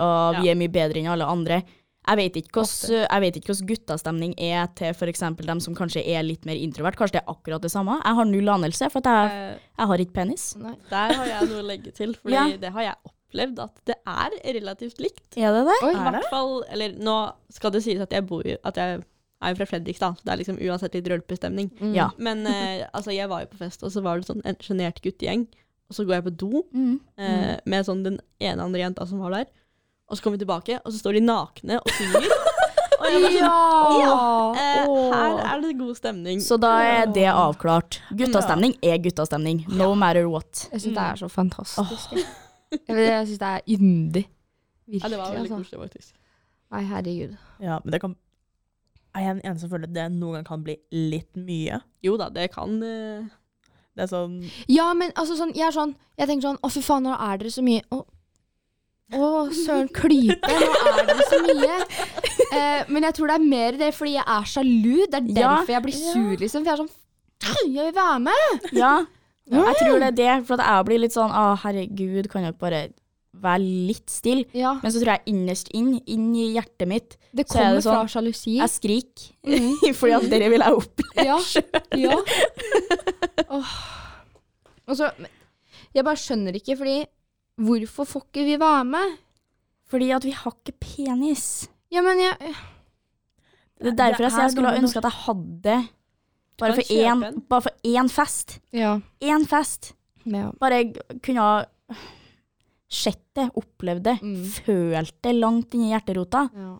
S3: og vi er mye bedre enn alle andre. Jeg vet ikke hvordan jeg vet ikke hvordan guttastemning er til f.eks. dem som kanskje er litt mer introvert. Kanskje det er akkurat det samme. Jeg har null anelse, for at
S1: Eh,
S3: jeg, jeg har ikke penis.
S2: Nei.
S1: Der har jeg noe å legge til, for
S3: Ja.
S1: det har jeg opplevd at det er relativt likt.
S3: Er det det?
S2: Oi.
S1: I hvert fall, eller nå skal det sies at jeg bor jo- at jeg er jo fra Fredrikstad, så det er liksom uansett litt rølpestemning.
S2: Mm.
S3: Ja.
S1: Men eh, altså, jeg var jo på fest, og så var det sånn en sjenert guttegjeng. Og så går jeg på do
S3: Mm.
S1: eh, med sånn den ene andre jenta som var der. Og så kommer vi tilbake, og så står de nakne og synger. og jeg var sånn, eh, her er det god stemning.
S3: Så da er det avklart. Guttastemning er guttastemning. No matter what.
S2: Jeg syns det er så fantastisk. jeg. Jeg, vet- jeg syns Mm. det er yndig.
S1: ja, det
S2: Virkelig,
S1: var veldig
S2: altså.
S1: koselig, faktisk.
S2: Nei, herregud.
S4: Ja, men det kan Er jeg den eneste som føler at det noen gang kan bli litt mye?
S1: Jo da, det kan eh,
S4: Det er sånn
S2: Ja, men altså sånn, jeg er sånn Jeg tenker sånn, å fy faen, nå er dere så mye Å, å søren klype, nå er dere så mye eh, Men jeg tror det er mer det Fordi jeg er sjalu, det
S3: Ja.
S2: er derfor jeg blir sur liksom For jeg er sånn, «Faen, jeg vil være med
S3: Ja, jeg tror det er det. For at jeg blir litt sånn Å, herregud, kan dere bare være litt stille?
S2: Ja,
S3: Men så tror jeg innerst inn, inn i hjertet mitt,
S2: det
S3: Så er
S2: kommer
S3: det sånn-
S2: fra sjalusi
S3: jeg skriker. Fordi at dere vil jeg opp.
S2: Ja, ja Åh. Og så men Jeg bare skjønner ikke, fordi Hvorfor får ikke vi være med?
S3: Fordi at vi har ikke penis.
S2: Ja, men jeg
S3: Det er derfor
S4: Det
S3: jeg sier
S4: er
S3: jeg skulle
S4: noe
S3: ha
S4: med
S3: ønska at jeg hadde det. Bare
S1: Kan
S3: for
S1: kjøpe
S3: én,
S1: en.
S3: bare for én fest.
S2: Ja,
S3: Én fest.
S2: ja.
S3: Bare jeg kunne ha sett det, opplevd det,
S2: Mm.
S3: følt det langt inni hjerterota.
S2: ja.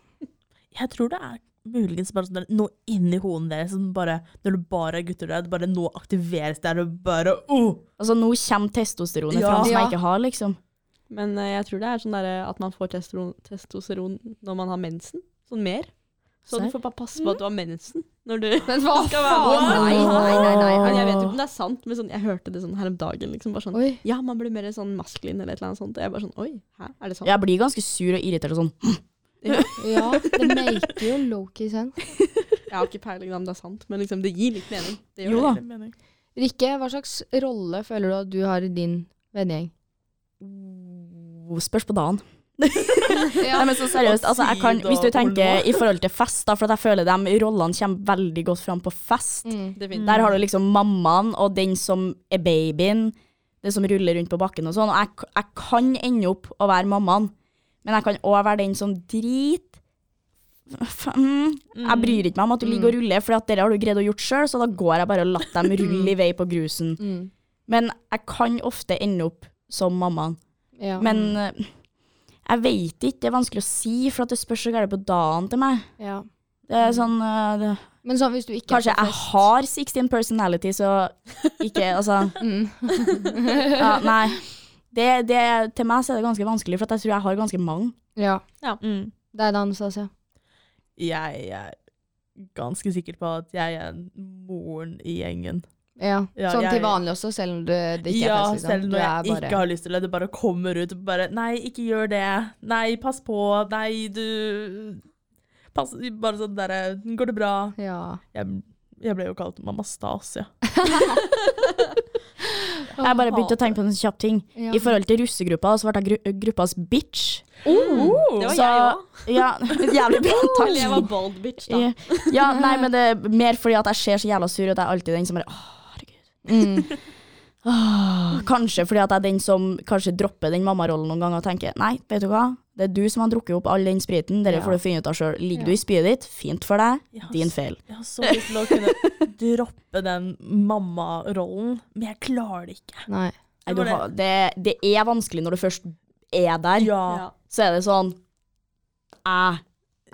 S4: Jeg tror det er muligens bare sånn der, noe inni hodet deres som bare Når du bare er gutter, det er bare nå aktiveres det, og bare oh!
S3: Altså, nå kommer testosteronet
S4: Ja.
S3: fram som
S2: Ja.
S3: jeg ikke har, liksom.
S1: Men eh, jeg tror det er sånn der, eh, at man får testosteron, testosteron når man har mensen. Sånn mer. Så
S3: Serr? Mm.
S1: du får bare passe på at du har mensen når du
S2: Men hva
S1: Skal være
S2: faen?
S1: med.
S2: Nei, nei, nei. nei.
S1: Men Jeg vet jo ikke om det er sant, men sånn, jeg hørte det sånn her om dagen. Liksom, bare sånn,
S2: Oi.
S1: ja, man blir mer sånn maskulin eller et eller annet sånt. Og jeg bare sånn Oi, hæ, er det sant?
S3: Jeg blir ganske sur og irritert og sånn.
S2: Ja, det maker jo low-key sense.
S1: Jeg har ikke peiling om det er sant, men liksom, det gir litt mening. Det
S3: Jo
S1: gjør
S3: da.
S1: det.
S2: Rikke, hva slags rolle føler du at du har i din vennegjeng?
S3: Oh, Spørs på dagen.
S2: Ja.
S3: Nei, men så seriøst, altså, jeg kan, hvis du
S4: Tid og
S3: tenker i forhold til fest, da, for at jeg føler de rollene kommer veldig godt fram på fest.
S2: Mm.
S1: Definitivt.
S3: Der har du liksom mammaen og den som er babyen, den som ruller rundt på bakken og sånn. Og jeg, k- jeg kan ende opp å være mammaen, men jeg kan òg være den som drit. F- Mm. Jeg bryr ikke meg om at du ligger og ruller, for det har du greid å gjort sjøl, så da går jeg bare og lar dem rulle i vei på grusen.
S2: Mm.
S3: Men jeg kan ofte ende opp som mammaen.
S2: Ja.
S3: Men eh, jeg veit ikke, det er vanskelig å si, for at det spørs så gærent på dagen til meg.
S2: ja.
S3: Det er sånn eh, det,
S2: Men sånn hvis du ikke
S3: Kanskje
S2: er på
S3: jeg
S2: fest
S3: har 16 personality, så ikke Altså,
S2: mm.
S3: ja, nei. Det, det, til meg så er det ganske vanskelig, for at jeg tror jeg har ganske mange.
S2: Ja.
S4: Mm.
S2: Det er det, Anastasia.
S4: Jeg er ganske sikker på at jeg er moren i gjengen.
S2: Ja.
S4: Ja,
S2: sånn
S4: jeg-
S2: til vanlig også, selv om det, det ikke
S4: ja,
S2: er fest. Liksom.
S4: selv når
S2: Du
S4: jeg
S2: er bare-
S4: ikke har lyst til det. Det bare kommer ut og bare Nei, ikke gjør det. Nei, pass på. Nei, du pass, Bare sånn derre Går det bra?
S2: ja.
S4: Jeg, jeg ble jo kalt mamma Stasia.
S3: Jeg bare begynte å tenke på en sånn kjapp ting.
S2: Ja.
S3: I forhold til russegruppa, så ble jeg gru gruppas bitch.
S1: Det var
S3: Så-
S1: jeg òg.
S3: Ja, jævlig bra. Takk.
S1: Eller jeg var bald bitch, da.
S3: Ja. ja, nei, men det er mer fordi at jeg ser så jævla sur ut. Jeg er alltid den som bare Åh, herregud.
S2: Mm.
S3: Åh. Kanskje fordi at jeg er den som kanskje dropper den mammarollen noen ganger og tenker nei, vet du hva, det er du som har drukket opp all den spriten, dere
S2: Ja.
S3: får du finne ut av sjøl. Ligger
S2: Ja.
S3: du i spydet ditt, fint for deg,
S4: Jeg har
S3: din
S4: s-
S3: feil.
S4: Jeg har så lyst til å kunne droppe den mammarollen, men jeg klarer det ikke.
S3: Nei,
S2: Nei.
S4: Det
S3: du
S4: var det.
S3: har, det, det er vanskelig når du først er der,
S4: Ja.
S1: Ja.
S3: så er det sånn Æh.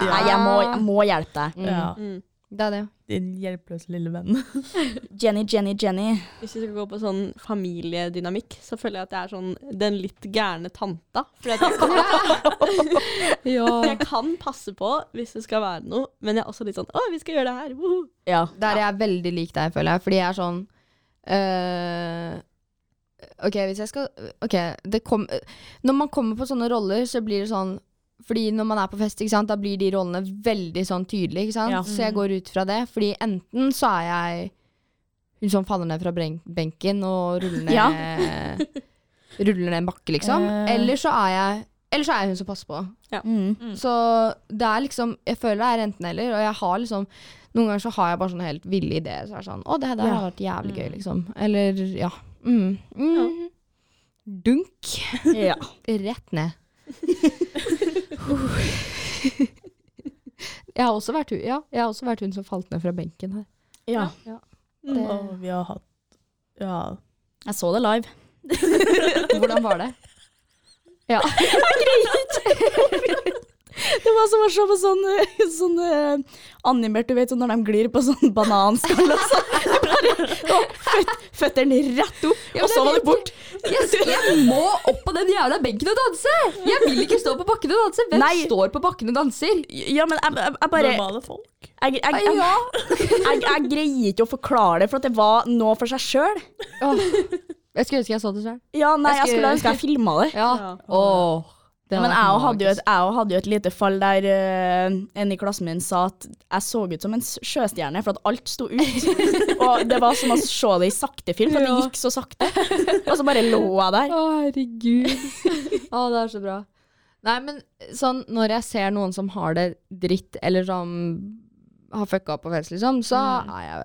S3: Nei, jeg må, jeg må hjelpe deg.
S2: Mm.
S4: ja.
S1: Mm.
S2: Det er det.
S4: Din hjelpeløse lille venn.
S3: Jenny, Jenny, Jenny.
S1: Hvis vi skal gå på sånn familiedynamikk, så føler jeg at jeg er sånn den litt gærne tanta. Fordi at jeg
S2: Ja.
S1: Jeg kan passe på hvis det skal være noe, men jeg er også litt sånn 'Å, vi skal gjøre det her!' woho!»
S3: Ja.
S2: Der er jeg veldig lik deg, føler jeg. Fordi jeg er sånn eh, Ok, hvis jeg skal Ok, det kom Når man kommer på sånne roller, så blir det sånn fordi når man er på fest, ikke sant, da blir de rollene veldig sånn tydelige. Ikke sant?
S3: Ja.
S2: Så jeg går ut fra det. Fordi enten så er jeg hun som faller ned fra bren- benken og ruller ned,
S3: Ja.
S2: ruller ned en bakke, liksom.
S3: Eh.
S2: Eller så er jeg eller så er jeg hun som passer på.
S3: Mm.
S2: Så det er liksom Jeg føler det er enten eller, og jeg har liksom Noen ganger så har jeg bare sånne helt ville ideer. Så er det sånn Å, det her der
S3: Ja. Mm.
S2: har vært jævlig gøy, liksom. Eller ja. Mm. Mm. Dunk
S3: ja.
S2: rett ned. jeg har også vært hun Ja, jeg har også vært hun som falt ned fra benken her.
S3: ja.
S2: Det,
S4: Og vi har hatt Ja.
S3: Jeg så det live.
S2: hvordan var det? Ja.
S3: Det var som å se på sånn, eh, sånn eh, animert, du vet, sånn når de glir på sånn bananskall og sånn. Det Bare, å, føt, føttene rett opp,
S2: Ja, men
S3: og så
S2: det
S3: var
S2: er
S3: det bort.
S2: Jeg, jeg må opp på den jævla benken og danse! Jeg vil ikke stå på bakken og danse! Hvem
S3: Nei.
S2: står på bakken og danser?
S3: Ja, men jeg, jeg, jeg bare jeg,
S4: Normale folk.
S3: jeg, jeg,
S2: Ja.
S3: jeg, jeg greier ikke å forklare det, for at det var noe for seg sjøl.
S2: Åh, Jeg skulle ønske jeg så det sjøl.
S3: Ja, nei, jeg
S2: Jeg
S3: skulle
S2: skulle-
S3: ønske jeg filma det.
S2: Ja. Åh, det hadde
S3: Men jeg
S2: vært
S3: òg hadde, jo
S2: magisk.
S3: et- jeg og hadde jo et lite fall der eh, en i klassen min sa at jeg så ut som en s- sjøstjerne, for at alt sto ut. og det var som å se det i sakte film, for at det gikk så sakte. Og så bare lå jeg der.
S2: Å, herregud. Å, det er så bra. Nei, men sånn når jeg ser noen som har det dritt, eller som har fucka opp på fest, liksom, så er jeg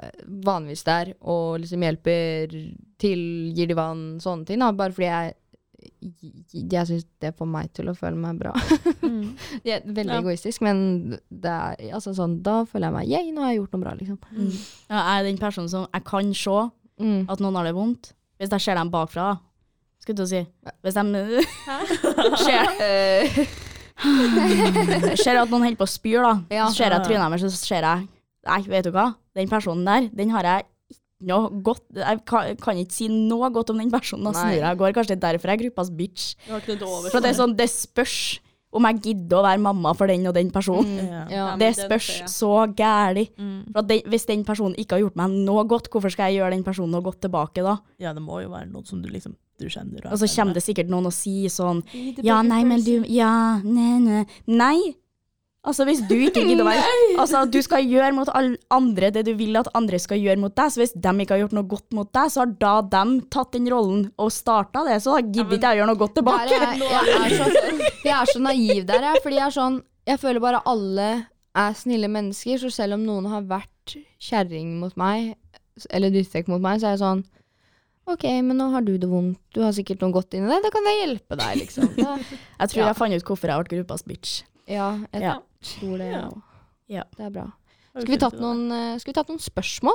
S2: vanligvis der og liksom hjelper til, gir de vann, sånne ting, da. Bare fordi jeg jeg syns det får meg til å føle meg bra. Det er Veldig
S1: Ja.
S2: egoistisk, men det er, altså, sånn, da føler jeg meg Yeah, nå har jeg gjort noe bra, liksom.
S3: Ja, jeg er den personen som jeg kan se
S2: Mm.
S3: at noen har det vondt. Hvis jeg ser dem bakfra, da. Skal du si. Hvis de ser,
S2: Eh,
S3: Ser jeg at noen holder på å spyr, da.
S2: Ja.
S3: Så ser jeg trynet deres, og så ser jeg Nei, vet du hva? Den personen der, den har jeg ikke noe godt Jeg kan, kan ikke si noe godt om den personen. Da
S2: Nei.
S3: snur jeg og går. Kanskje det er derfor jeg er gruppas bitch.
S1: Du har ikke noe til overs
S3: For det er
S1: for
S3: sånn, det spørs om jeg gidder å være mamma for den og den
S2: Mm.
S3: personen.
S2: Ja.
S1: Ja, men
S3: Det
S1: den
S3: spørs
S1: ser jeg. Mm.
S3: så gæli. For at den, hvis den personen ikke har gjort meg noe godt, hvorfor skal jeg gjøre den personen noe godt tilbake da?
S4: ja, det må jo være noen som du liksom du kjenner.
S3: Og så kommer det sikkert noen og sier sånn Ja, nei, men du Ja, nei, nei. Nei! Altså, hvis du ikke gidder å være Altså, du skal gjøre mot alle andre det du vil at andre skal gjøre mot deg, så hvis de ikke har gjort noe godt mot deg, så har da de tatt den rollen og starta det, så da gidder ikke jeg å gjøre noe godt
S2: Der
S3: tilbake.
S2: er, jeg, er så, sånn. jeg er så naiv der, jeg. Fordi jeg er sånn Jeg føler bare alle er snille mennesker, så selv om noen har vært kjerring mot meg, eller drittsekk mot meg, så er jeg sånn OK, men nå har du det vondt. Du har sikkert noe godt inni deg. Da kan jeg hjelpe deg, liksom. Da,
S3: Jeg tror
S2: Ja.
S3: jeg fant ut hvorfor jeg ble gruppas bitch.
S2: ja, jeg
S3: Ja.
S2: tror det. jeg også.
S3: Ja.
S2: Det er bra. Skal vi tatt noen, eh, skal vi tatt noen spørsmål?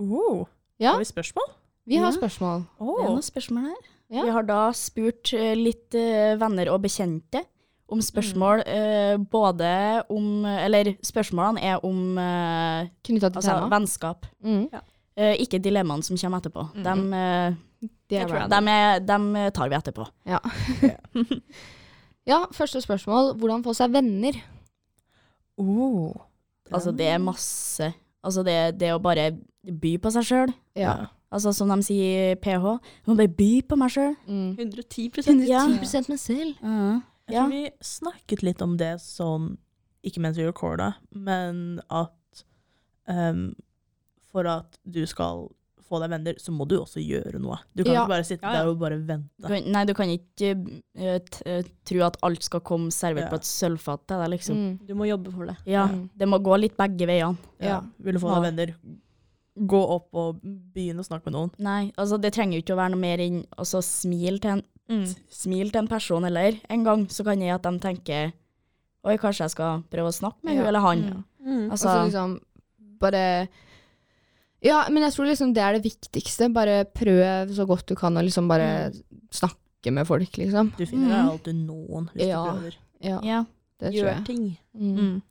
S4: oh,
S2: Ja.
S4: Har vi spørsmål?
S2: Vi har
S3: Ja.
S2: spørsmål.
S3: Det er
S4: Oh.
S3: noen spørsmål her.
S2: Ja.
S3: Vi har da spurt eh, litt eh, venner og bekjente om spørsmål
S2: Mm.
S3: eh, både om Eller spørsmålene er om eh,
S2: Knytta til
S3: altså,
S2: temaet.
S3: vennskap.
S2: Mm.
S3: Eh, ikke dilemmaene som kommer etterpå.
S4: Mm.
S3: Dem, eh,
S2: Det er bra.
S3: dem, er, dem eh, tar vi etterpå.
S2: Ja, første spørsmål. Hvordan få seg venner?
S4: Oh.
S3: Altså, det er masse. Altså, det, det å bare by på seg sjøl.
S2: Ja.
S3: Altså, som de sier i PH. Jeg må bare by på meg sjøl.
S2: Mm.
S1: 110
S3: Ja.
S2: meg selv.
S4: Jeg
S3: Ja.
S4: tror vi snakket litt om det sånn, ikke mens vi recorda, men at ehm, for at du skal få deg venner, så må du også gjøre noe. Du kan
S2: Ja.
S4: ikke bare sitte
S1: Ja, ja.
S4: der og bare
S3: Du
S4: vente.
S3: kan, nei, du kan ikke eh, t eh, tro at alt skal komme servert
S4: Ja.
S3: på et sølvfat til deg, liksom.
S2: Mm.
S1: Du må jobbe for det.
S3: Ja,
S2: Mm.
S3: det må gå litt begge veiene.
S2: Ja.
S4: Vil du få deg
S3: Ja.
S4: venner, gå opp og begynne å snakke med noen.
S3: Nei, altså det trenger jo ikke å være noe mer enn å så smil til en,
S2: Mm.
S3: smil til en person eller en gang, så kan jeg at de tenker Oi, kanskje jeg skal prøve å snakke med
S2: Ja. Mm.
S3: hun eller han.
S1: Mm.
S2: Og
S3: Altså,
S2: så liksom bare Ja, men jeg tror liksom det er det viktigste. Bare prøv så godt du kan, og liksom bare snakke med folk, liksom.
S4: Du
S3: Mm.
S4: finner deg alltid noen hvis
S2: Ja.
S4: du prøver.
S2: Ja,
S3: ja.
S2: det tror
S1: Gjør
S2: jeg.
S1: ting.
S2: Mm.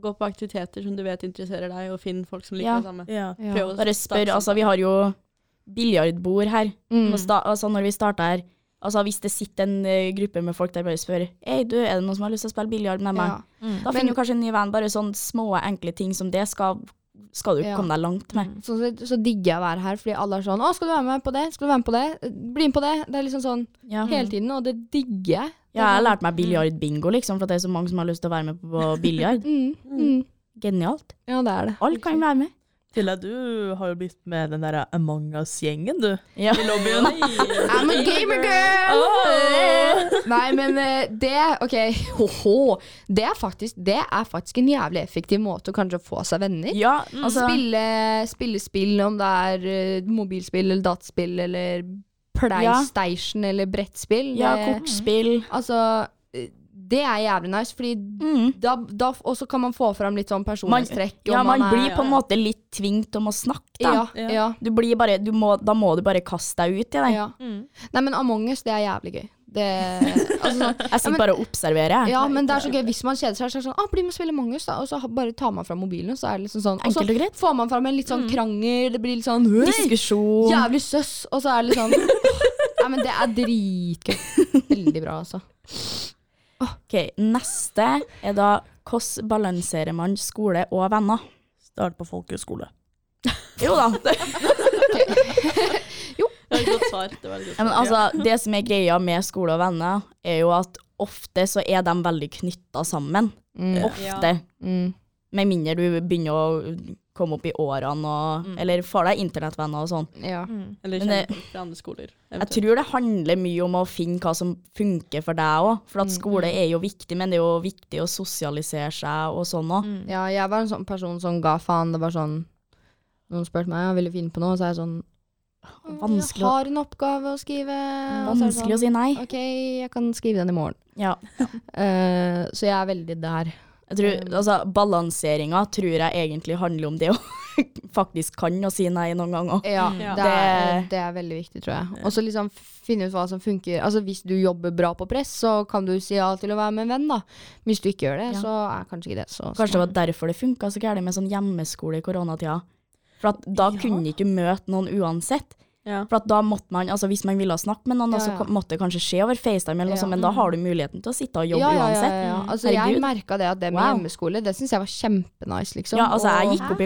S1: Gå på aktiviteter som du vet interesserer deg, og finn folk som liker
S3: Ja.
S1: det samme.
S4: Ja.
S2: Ja.
S1: Prøv å
S3: Bare
S1: starte
S3: spør. Altså, vi har jo biljardbord her.
S2: Mm.
S3: Og sta, altså, når vi starter her Altså, hvis det sitter en eh, gruppe med folk der, bare spør Hei, du, er det noen som har lyst til å spille biljard med meg?
S2: Ja.
S3: Da
S2: Men-
S3: finner du kanskje en ny venn. Bare sånne små, enkle ting som det skal, skal du
S2: Ja.
S3: komme deg langt med.
S2: Sånn sett så digger jeg å være her, fordi alle er sånn 'Å, skal du være med på det? Skal du være med på det? Bli med på det?' Det er liksom sånn
S3: Ja.
S2: hele tiden, og det digger jeg.
S3: Ja, jeg lærte
S2: Mm.
S3: meg biljardbingo, liksom, for at det er så mange som har lyst til å være med på biljard.
S2: Mm. Mm.
S3: Genialt.
S2: Ja, det er det.
S3: Alle kan være med.
S4: Tilla, du har jo blitt med den der Among us-gjengen, du.
S3: Ja.
S4: I lobbyen.
S2: I'm a gamer girl! Nei, men eh, det OK. Ho-ho. Det, er faktisk, det er faktisk en jævlig effektiv måte å kanskje få seg venner.
S3: Ja, altså,
S2: spille, spille spill, om det er eh, mobilspill eller dataspill eller PlayStation eller brettspill.
S3: ja,
S2: Det-
S3: kortspill.
S2: Altså, eh, det er jævlig nice, fordi
S3: Mm.
S2: da, da og så kan man få fram litt sånn personlighetstrekk.
S3: Ja,
S2: om
S3: man
S2: er-
S3: blir på en måte litt tvingt om å snakke, da.
S2: ja, ja, ja.
S3: Du blir bare, du må, da må du bare kaste deg ut i det.
S2: Nei, men Among us, det er jævlig gøy. Det, altså, sånn,
S3: Jeg sitter bare og observerer. jeg.
S2: Ja, men det er så gøy hvis man kjeder seg. Så er det sånn, ah, bli med og spille Among us, da. Og så ha- bare tar man fram mobilen, og så er det liksom sånn. Og så
S3: Enkelt og greit.
S2: får man fram en litt sånn krangel, det blir litt sånn «Hei,
S3: Mm. Diskusjon.
S2: jævlig søss, og så er det litt sånn Nei, men det er dritgøy. Veldig bra, altså.
S3: Ok, neste er da hvordan balanserer man skole og venner?
S4: Start på folkehøyskole.
S3: Jo da.
S1: Det var et godt svar. Det var et godt
S3: Ja, men
S1: svar.
S3: altså, det som er greia med skole og venner, er jo at ofte så er de veldig knytta sammen.
S2: Mm.
S3: Ofte.
S2: Mm.
S3: Med mindre du begynner å komme opp i årene og
S2: Mm.
S3: Eller får deg internettvenner og sånn.
S2: Ja.
S1: Eller
S3: Men
S1: kjenne
S3: det-
S1: folk fra andre skoler.
S3: Jeg tror det handler mye om å finne hva som funker for deg òg. For
S2: Mm.
S3: at skole er jo viktig, men det er jo viktig å sosialisere seg og sånn òg.
S2: ja, jeg var en sånn person som ga faen. Det var sånn Noen spurte meg om jeg ville finne på noe, og så er jeg sånn Jeg
S3: Vanskelig, å-
S2: har en oppgave å skrive. og så er det
S3: vanskelig å
S2: sånn,
S3: si nei.
S2: OK, jeg kan skrive den i morgen.
S3: Ja.
S2: Eh, så jeg er veldig der.
S3: Jeg tror, altså, balanseringa tror jeg egentlig handler om det å faktisk kan å si nei noen ganger.
S2: Ja,
S1: Ja.
S2: det er, det er veldig viktig, tror jeg. Og så liksom finne ut hva som funker. Altså Hvis du jobber bra på press, så kan du si ja til å være med en venn, da. Hvis du ikke gjør det,
S3: Ja.
S2: så er kanskje ikke det så
S3: Kanskje det
S2: smart.
S3: var derfor det funka så gærent med sånn hjemmeskole i koronatida. For at da kunne ikke du møte noen uansett.
S1: Ja.
S3: For at da måtte man, altså Hvis man ville snakke med noen,
S2: Ja,
S3: så
S2: ja.
S3: kom- måtte det kanskje skje over FaceTime, eller noe
S2: Ja.
S3: sånt, men da har du muligheten til å sitte og jobbe
S2: ja, ja, ja,
S3: uansett. Mm.
S2: ja, ja. Altså,
S3: Herregud.
S2: jeg merka det at det med
S3: Wow.
S2: hjemmeskole, det syns jeg var kjempenice, liksom.
S3: Ja, altså Jeg
S2: Og-
S3: gikk Mm. opp i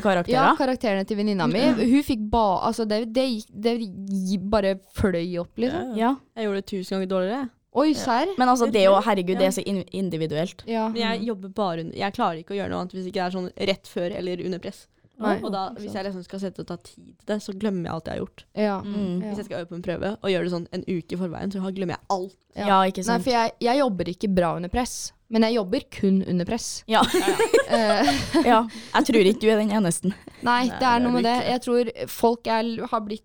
S3: karakterer.
S2: Ja, karakterene til venninna mi. Hun fikk ba... Altså, det, det, gikk, det gi- bare fløy opp, liksom.
S3: Ja.
S1: Jeg gjorde det tusen ganger dårligere.
S2: Oi, serr?
S3: Men altså, det er jo, herregud,
S1: Ja.
S3: det er så in- individuelt.
S2: Ja.
S1: Men jeg jobber bare under Jeg klarer ikke å gjøre noe annet hvis ikke det er sånn rett før eller under press.
S2: Nei.
S1: og da, hvis jeg liksom skal sette og ta tid til det, så glemmer jeg alt jeg har gjort.
S2: Ja.
S3: Mm.
S2: Ja.
S1: Hvis jeg skal øve på en prøve og gjøre det sånn en uke i forveien, så glemmer jeg alt.
S2: Ja.
S3: Ja, ikke
S2: Nei,
S3: sant.
S2: for jeg, jeg jobber ikke bra under press. Men jeg jobber kun under press.
S3: Ja.
S2: Eh,
S3: ja. Jeg tror ikke du er den eneste.
S2: nei, det er
S4: det er
S2: noe med
S4: du
S2: det.
S4: ikke.
S2: Jeg tror folk er, har blitt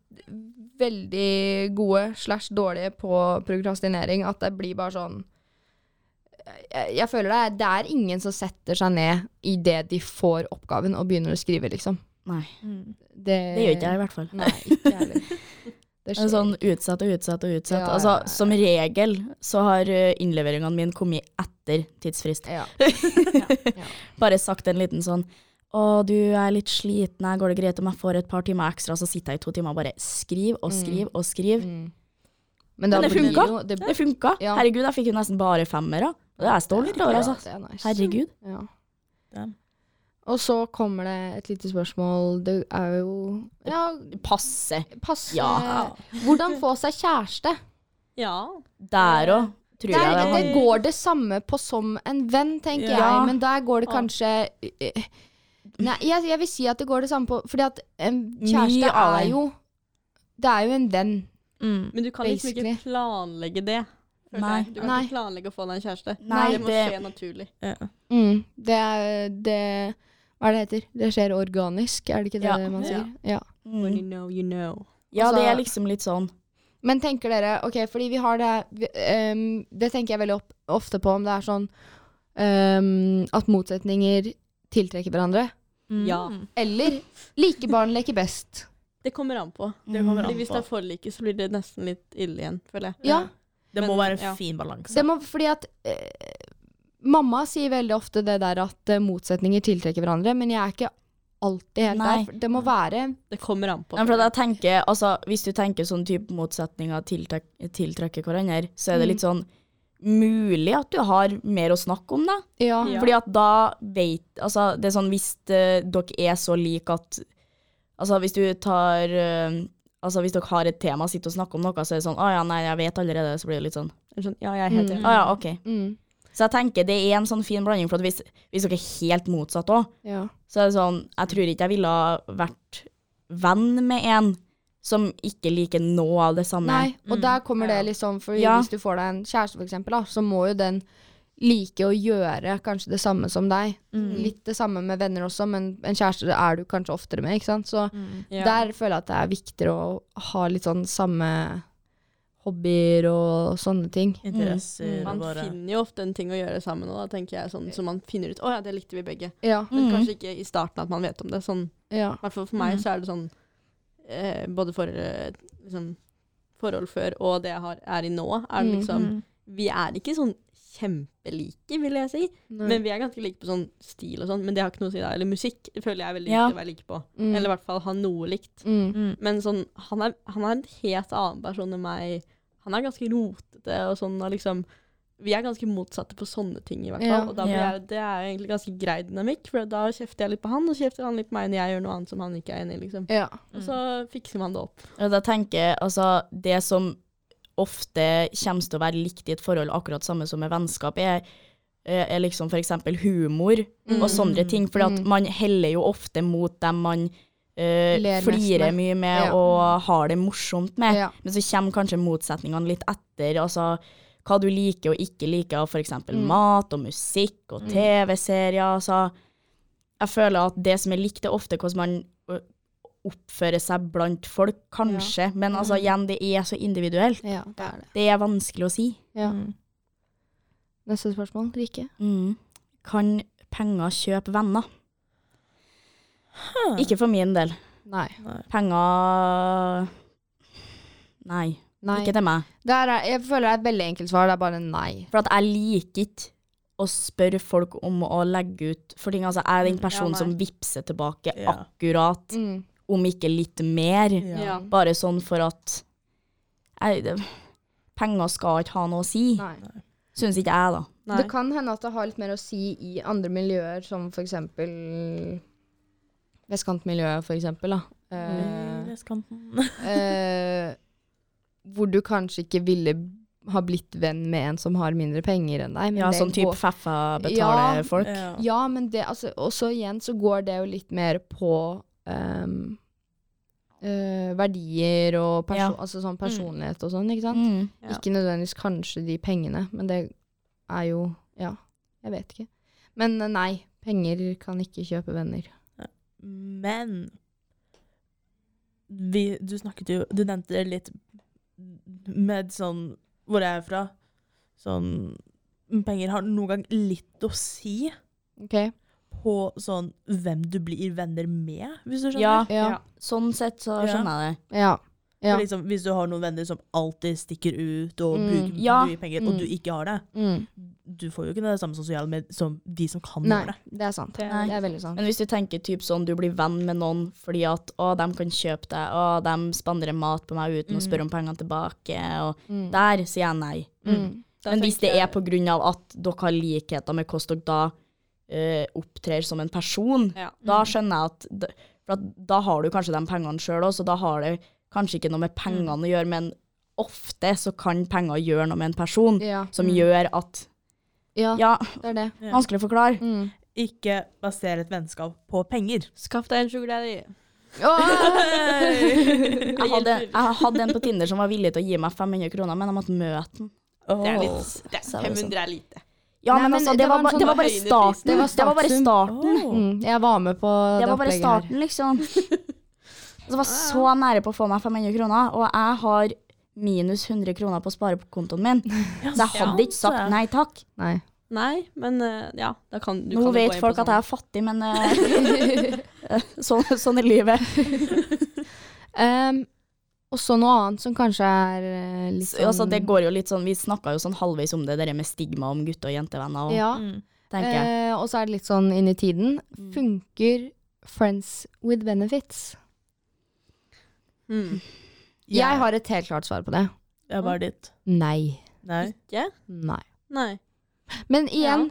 S2: veldig gode slash dårlige på prokrastinering. At det blir bare sånn jeg, jeg føler det er, det er ingen som setter seg ned idet de får oppgaven og begynner å skrive, liksom.
S3: Nei.
S2: Det,
S3: Det gjør ikke jeg, i hvert fall.
S2: Nei, ikke jeg heller. Det
S3: Det er
S2: skjer.
S3: Sånn utsatt og utsatt og utsatt.
S2: Ja, ja,
S3: altså,
S2: ja.
S3: Som regel så har eh, innleveringene mine kommet etter tidsfrist.
S2: ja.
S3: Bare sagt en liten sånn Å, du jeg er litt sliten, her går det greit om jeg får et par timer ekstra? Så sitter jeg i to timer og bare skriv
S2: Mm.
S3: og skriv og skriv.
S2: Men, da
S3: Men det
S2: blir
S3: funka.
S2: jo- Det,
S3: Det funka.
S2: Mm. Ja.
S3: Herregud, jeg fikk jo nesten bare femmere. Det er jeg stolt over, altså.
S2: Ja, det er nice.
S3: Herregud.
S2: Ja.
S4: Damn.
S2: Og så kommer det et lite spørsmål. Det er jo Ja,
S3: Passe.
S2: passe
S3: Ja.
S2: Hvordan få seg kjæreste?
S1: Ja.
S3: Der òg, tror
S2: Der,
S3: jeg det var.
S2: det går det samme på som en venn, tenker
S3: Ja.
S2: jeg. Men der går det kanskje eh, Nei, jeg, jeg vil si at det går det samme på Fordi at en
S3: Mye
S2: kjæreste
S3: av
S2: er
S3: det.
S2: jo Det er jo en venn. Mm.
S1: Men du kan liksom ikke
S2: Basically.
S1: planlegge det. føler
S3: Nei.
S1: jeg. Du kan
S2: Nei.
S1: ikke planlegge å få deg en kjæreste.
S3: Nei,
S1: det må
S3: det-
S1: skje naturlig.
S4: Ja.
S2: Mm, det er det Hva er det heter? Det skjer organisk, er det ikke det
S3: Ja.
S2: man sier? ja.
S1: When
S3: Mm.
S1: you know, you know.
S3: Ja, det
S2: Altså-
S3: er liksom litt sånn.
S2: Men tenker dere, ok, fordi vi har det vi, ehm, Det tenker jeg veldig opp, ofte på om det er sånn ehm, at motsetninger tiltrekker hverandre.
S3: Mm.
S1: Ja.
S2: Eller like barn leker best.
S1: Det kommer an på.
S4: Det kommer
S1: Fordi
S4: an
S1: hvis det
S4: på.
S1: er forliket, så blir det nesten litt ille igjen, føler jeg.
S2: Ja,
S4: Det må
S1: Men-
S4: være
S1: ja.
S4: en fin balanse.
S2: det må, fordi at eh, Mamma sier veldig ofte det der at eh, motsetninger tiltrekker hverandre, men jeg er ikke alltid helt
S3: Nei.
S2: der. Det må være
S1: Det kommer an på.
S3: Nei, for at jeg tenker, altså, hvis du tenker sånn type motsetninger tiltrek tiltrekker hverandre, så
S2: Mm.
S3: er det litt sånn mulig at du har mer å snakke om, da.
S2: Ja.
S1: Ja.
S3: Fordi at da vet Altså, det er sånn hvis eh, dere er så like at Altså, hvis du tar eh, Altså, hvis dere har et tema, sitter og snakker om noe, så er det sånn Å ja, nei, jeg vet allerede. Så blir det litt sånn Å
S1: Eller Sånn, ja, jeg er helt enig.
S3: ja, OK.
S2: Mm,
S3: Så jeg tenker det er en sånn fin blanding, for at hvis, hvis dere er helt motsatt òg,
S2: ja.
S3: så er det sånn, jeg tror ikke jeg ville ha vært venn med en som ikke liker noe av det samme.
S2: Nei,
S1: Mm.
S2: og der kommer det liksom For
S3: Ja.
S2: hvis du får deg en kjæreste for eksempel da, Så må jo den like å gjøre Kanskje det samme som deg
S1: Mm.
S2: Litt det samme med venner også Men en kjæreste er du kanskje oftere med, ikke sant? Så
S1: Mm. Ja.
S2: der føler jeg at det er viktigere Å ha litt sånn samme Hobbyer og sånne ting
S1: Mm.
S4: Interesser
S1: Man
S4: og bare
S1: finner jo ofte en ting å gjøre sammen, og da tenker jeg sånn som man finner ut Å ja, det likte vi begge.
S2: Ja,
S1: Men
S3: Mhm.
S1: kanskje ikke i starten at man vet om det. Sånn,
S2: Mm. ja,
S1: I hvert fall for meg
S2: Mhm.
S1: så er det sånn eh, Både for eh, liksom, forhold før og det jeg har, er i nå, er det
S2: Mhm.
S1: liksom Vi er ikke sånn kjempelike, vil jeg si.
S2: Nei.
S1: Men vi er ganske like på sånn stil og sånn, men det har ikke noe å si da. Eller musikk føler jeg er veldig
S3: Ja.
S1: viktig å være like på.
S2: Mm.
S1: Eller i hvert fall ha noe likt.
S2: mm.
S1: Men sånn, han er, han er en helt annen person enn meg. Han er ganske rotete og sånn, og liksom Vi er ganske motsatte på sånne ting, i hvert fall.
S2: Ja.
S1: Og da blir
S3: Ja.
S1: jeg, det er jo egentlig ganske grei dynamikk, for da kjefter jeg litt på han, og så kjefter han litt på meg når jeg gjør noe annet som han ikke er enig i, liksom.
S2: Ja,
S1: Og så fikser man det opp.
S3: Og da tenker jeg, altså, det som ofte kommer til å være likt i et forhold, akkurat samme som med vennskap, er, er liksom for eksempel humor og sånne ting, for at
S2: Mm.
S3: man heller jo ofte mot dem man eh,
S2: Ler mest
S3: flirer
S2: med.
S3: mye med
S2: Ja.
S3: og har det morsomt med.
S2: Ja.
S3: Men så kommer kanskje motsetningene litt etter, altså hva du liker og ikke liker av for eksempel mat og musikk og TV-serier, altså jeg føler at det som er likt, det er ofte hvordan man ø, oppfører seg blant folk, kanskje. Men altså, igjen, det er så individuelt.
S2: ja, det er det
S3: Det er vanskelig å si.
S2: ja. Neste
S3: Mm.
S2: spørsmål, Rike
S3: Kan penger kjøpe venner? Ikke for min del.
S2: Nei.
S3: Penger Nei.
S2: nei.
S3: Ikke til meg.
S2: Det er, jeg føler det er et veldig enkelt svar. Det er bare nei.
S3: For at jeg liker ikke å spørre folk om å legge ut for ting. Altså, jeg er den
S1: Mm, ja,
S3: personen
S1: nei.
S3: som vipser tilbake
S4: Ja.
S3: akkurat,
S2: Mm.
S3: om ikke litt mer.
S4: Ja.
S3: Bare sånn for at jeg, det, Penger skal ikke ha noe å si,
S2: nei.
S3: syns ikke jeg, da.
S1: Nei.
S2: Det kan hende at det har litt mer å si i andre miljøer, som for eksempel vestkantmiljøet, for eksempel. Da. Eh,
S4: Vestkanten.
S2: eh, hvor du kanskje ikke ville ha blitt venn med en som har mindre penger enn deg. men
S3: Ja,
S2: det
S3: sånn type
S2: går-
S3: Feffa betaler
S2: Ja.
S3: folk.
S2: Ja, men det altså, Også igjen så går det jo litt mer på ehm, eh, verdier og perso
S3: Ja.
S2: altså sånn personlighet og sånn, ikke sant?
S3: Mm.
S1: Ja.
S2: Ikke nødvendigvis kanskje de pengene, men det er jo Ja, jeg vet ikke. Men eh, nei, penger kan ikke kjøpe venner.
S4: Men vi, du snakket jo Du nevnte litt med sånn hvor jeg er fra. Sånn Penger har noen gang litt å si
S2: OK?
S4: på sånn hvem du blir venner med, hvis du skjønner?
S3: Ja,
S2: Ja.
S3: sånn sett så
S4: Ja.
S3: skjønner jeg det.
S2: Ja. ja.
S4: For Liksom, hvis du har noen venner som alltid stikker ut og
S2: Mm,
S4: bruker
S3: ja.
S4: mye penger,
S2: Mm.
S4: og du ikke har det,
S2: Mm.
S4: du får jo ikke det samme sosiale med som de som kan
S2: Nei,
S4: gjøre det.
S2: det er sant.
S1: Det er-
S2: Det er veldig sant.
S3: Men hvis du tenker typ sånn, du blir venn med noen fordi at å, de kan kjøpe deg, å, de spanderer mat på meg uten å spørre om pengene tilbake, og
S2: Mm.
S3: der sier jeg nei.
S2: Mm.
S1: Da
S3: Men hvis
S1: tenker
S3: det er
S1: jeg-
S3: på grunn av at dere har likheter med hvordan dere da eh, opptrer som en person,
S1: Ja.
S3: da skjønner jeg at, d- for at da har du kanskje de pengene sjøl òg, så da har det kanskje ikke noe med pengene å gjøre, men ofte så kan penger gjøre noe med en person
S2: Ja.
S3: som gjør at
S2: ja,
S3: Ja,
S2: det er det.
S3: vanskelig å forklare.
S2: Mm.
S4: Ikke basere et vennskap på penger.
S1: Skaff deg en sugar daddy.
S3: Jeg hadde, jeg hadde en på Tinder som var villig til å gi meg 500 kroner, men jeg måtte møte den.
S1: Det er litt det,
S3: Så er det liksom-
S1: 500 er lite.
S3: Ja,
S2: Nei,
S3: men,
S2: men
S3: altså, det,
S2: det
S3: var,
S2: var en
S3: ba- det
S2: sånn
S3: var bare
S1: høyere pris.
S3: starten.
S2: Det var
S3: Det var bare
S2: startsum.
S3: starten.
S2: Mm. Jeg var med på
S3: Oh. Det
S2: det
S3: var bare
S2: opplegget her.
S3: starten, liksom. Så det var så nære på å få meg 500 kroner, og jeg har minus 100 kroner på sparekontoen min. Så jeg hadde ikke sagt nei takk.
S2: Nei.
S1: Nei, men eh, ja, da kan du
S3: Nå
S1: kan jo gå
S3: vet
S1: inn
S3: folk
S1: på sånn.
S3: at jeg er fattig, men eh, sånn, sånn er livet.
S2: Um, og så noe annet som kanskje er eh, litt
S3: Så, altså, det går jo litt sånn, vi snakka jo sånn halvveis om det der med stigma om gutte- og jentevenner, og,
S2: Ja.
S4: Mm.
S3: tenker jeg. Mm.
S2: Eh, og så er det litt sånn inn i tiden. Funker friends with benefits?
S1: Mm.
S2: Jeg har et helt klart svar på det.
S4: Jeg var dit.
S2: Nei.
S4: Nei.
S1: Ikke?
S2: Nei.
S1: Nei.
S2: Men igjen,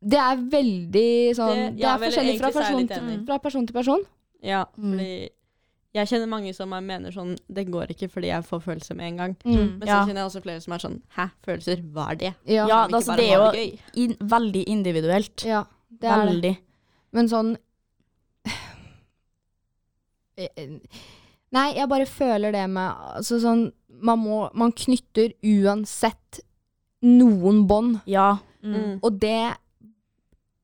S2: det er veldig sånn Det,
S1: Det- ja,
S2: er
S1: vel,
S2: forskjellig fra
S1: egentlig så er jeg
S2: person,
S1: litt
S2: til,
S1: enig.
S2: fra person til person.
S1: Ja,
S3: Mm.
S1: fordi jeg kjenner mange som er- mener sånn Det går ikke fordi jeg får følelser med en gang.
S2: Mm.
S1: Men
S3: Ja.
S1: så kjenner jeg også flere som er sånn Hæ, følelser? Hva er det?
S2: Ja.
S3: Ja,
S1: Kan vi
S3: da,
S1: ikke
S3: så
S1: bare
S3: det er
S1: ha
S3: jo
S1: det gøy?
S3: in, veldig individuelt.
S2: ja, det er det.
S3: Veldig.
S2: Men sånn Nei, jeg bare føler det med altså sånn, man, må, man knytter uansett noen bånd,
S3: Ja.
S1: Mm.
S2: og det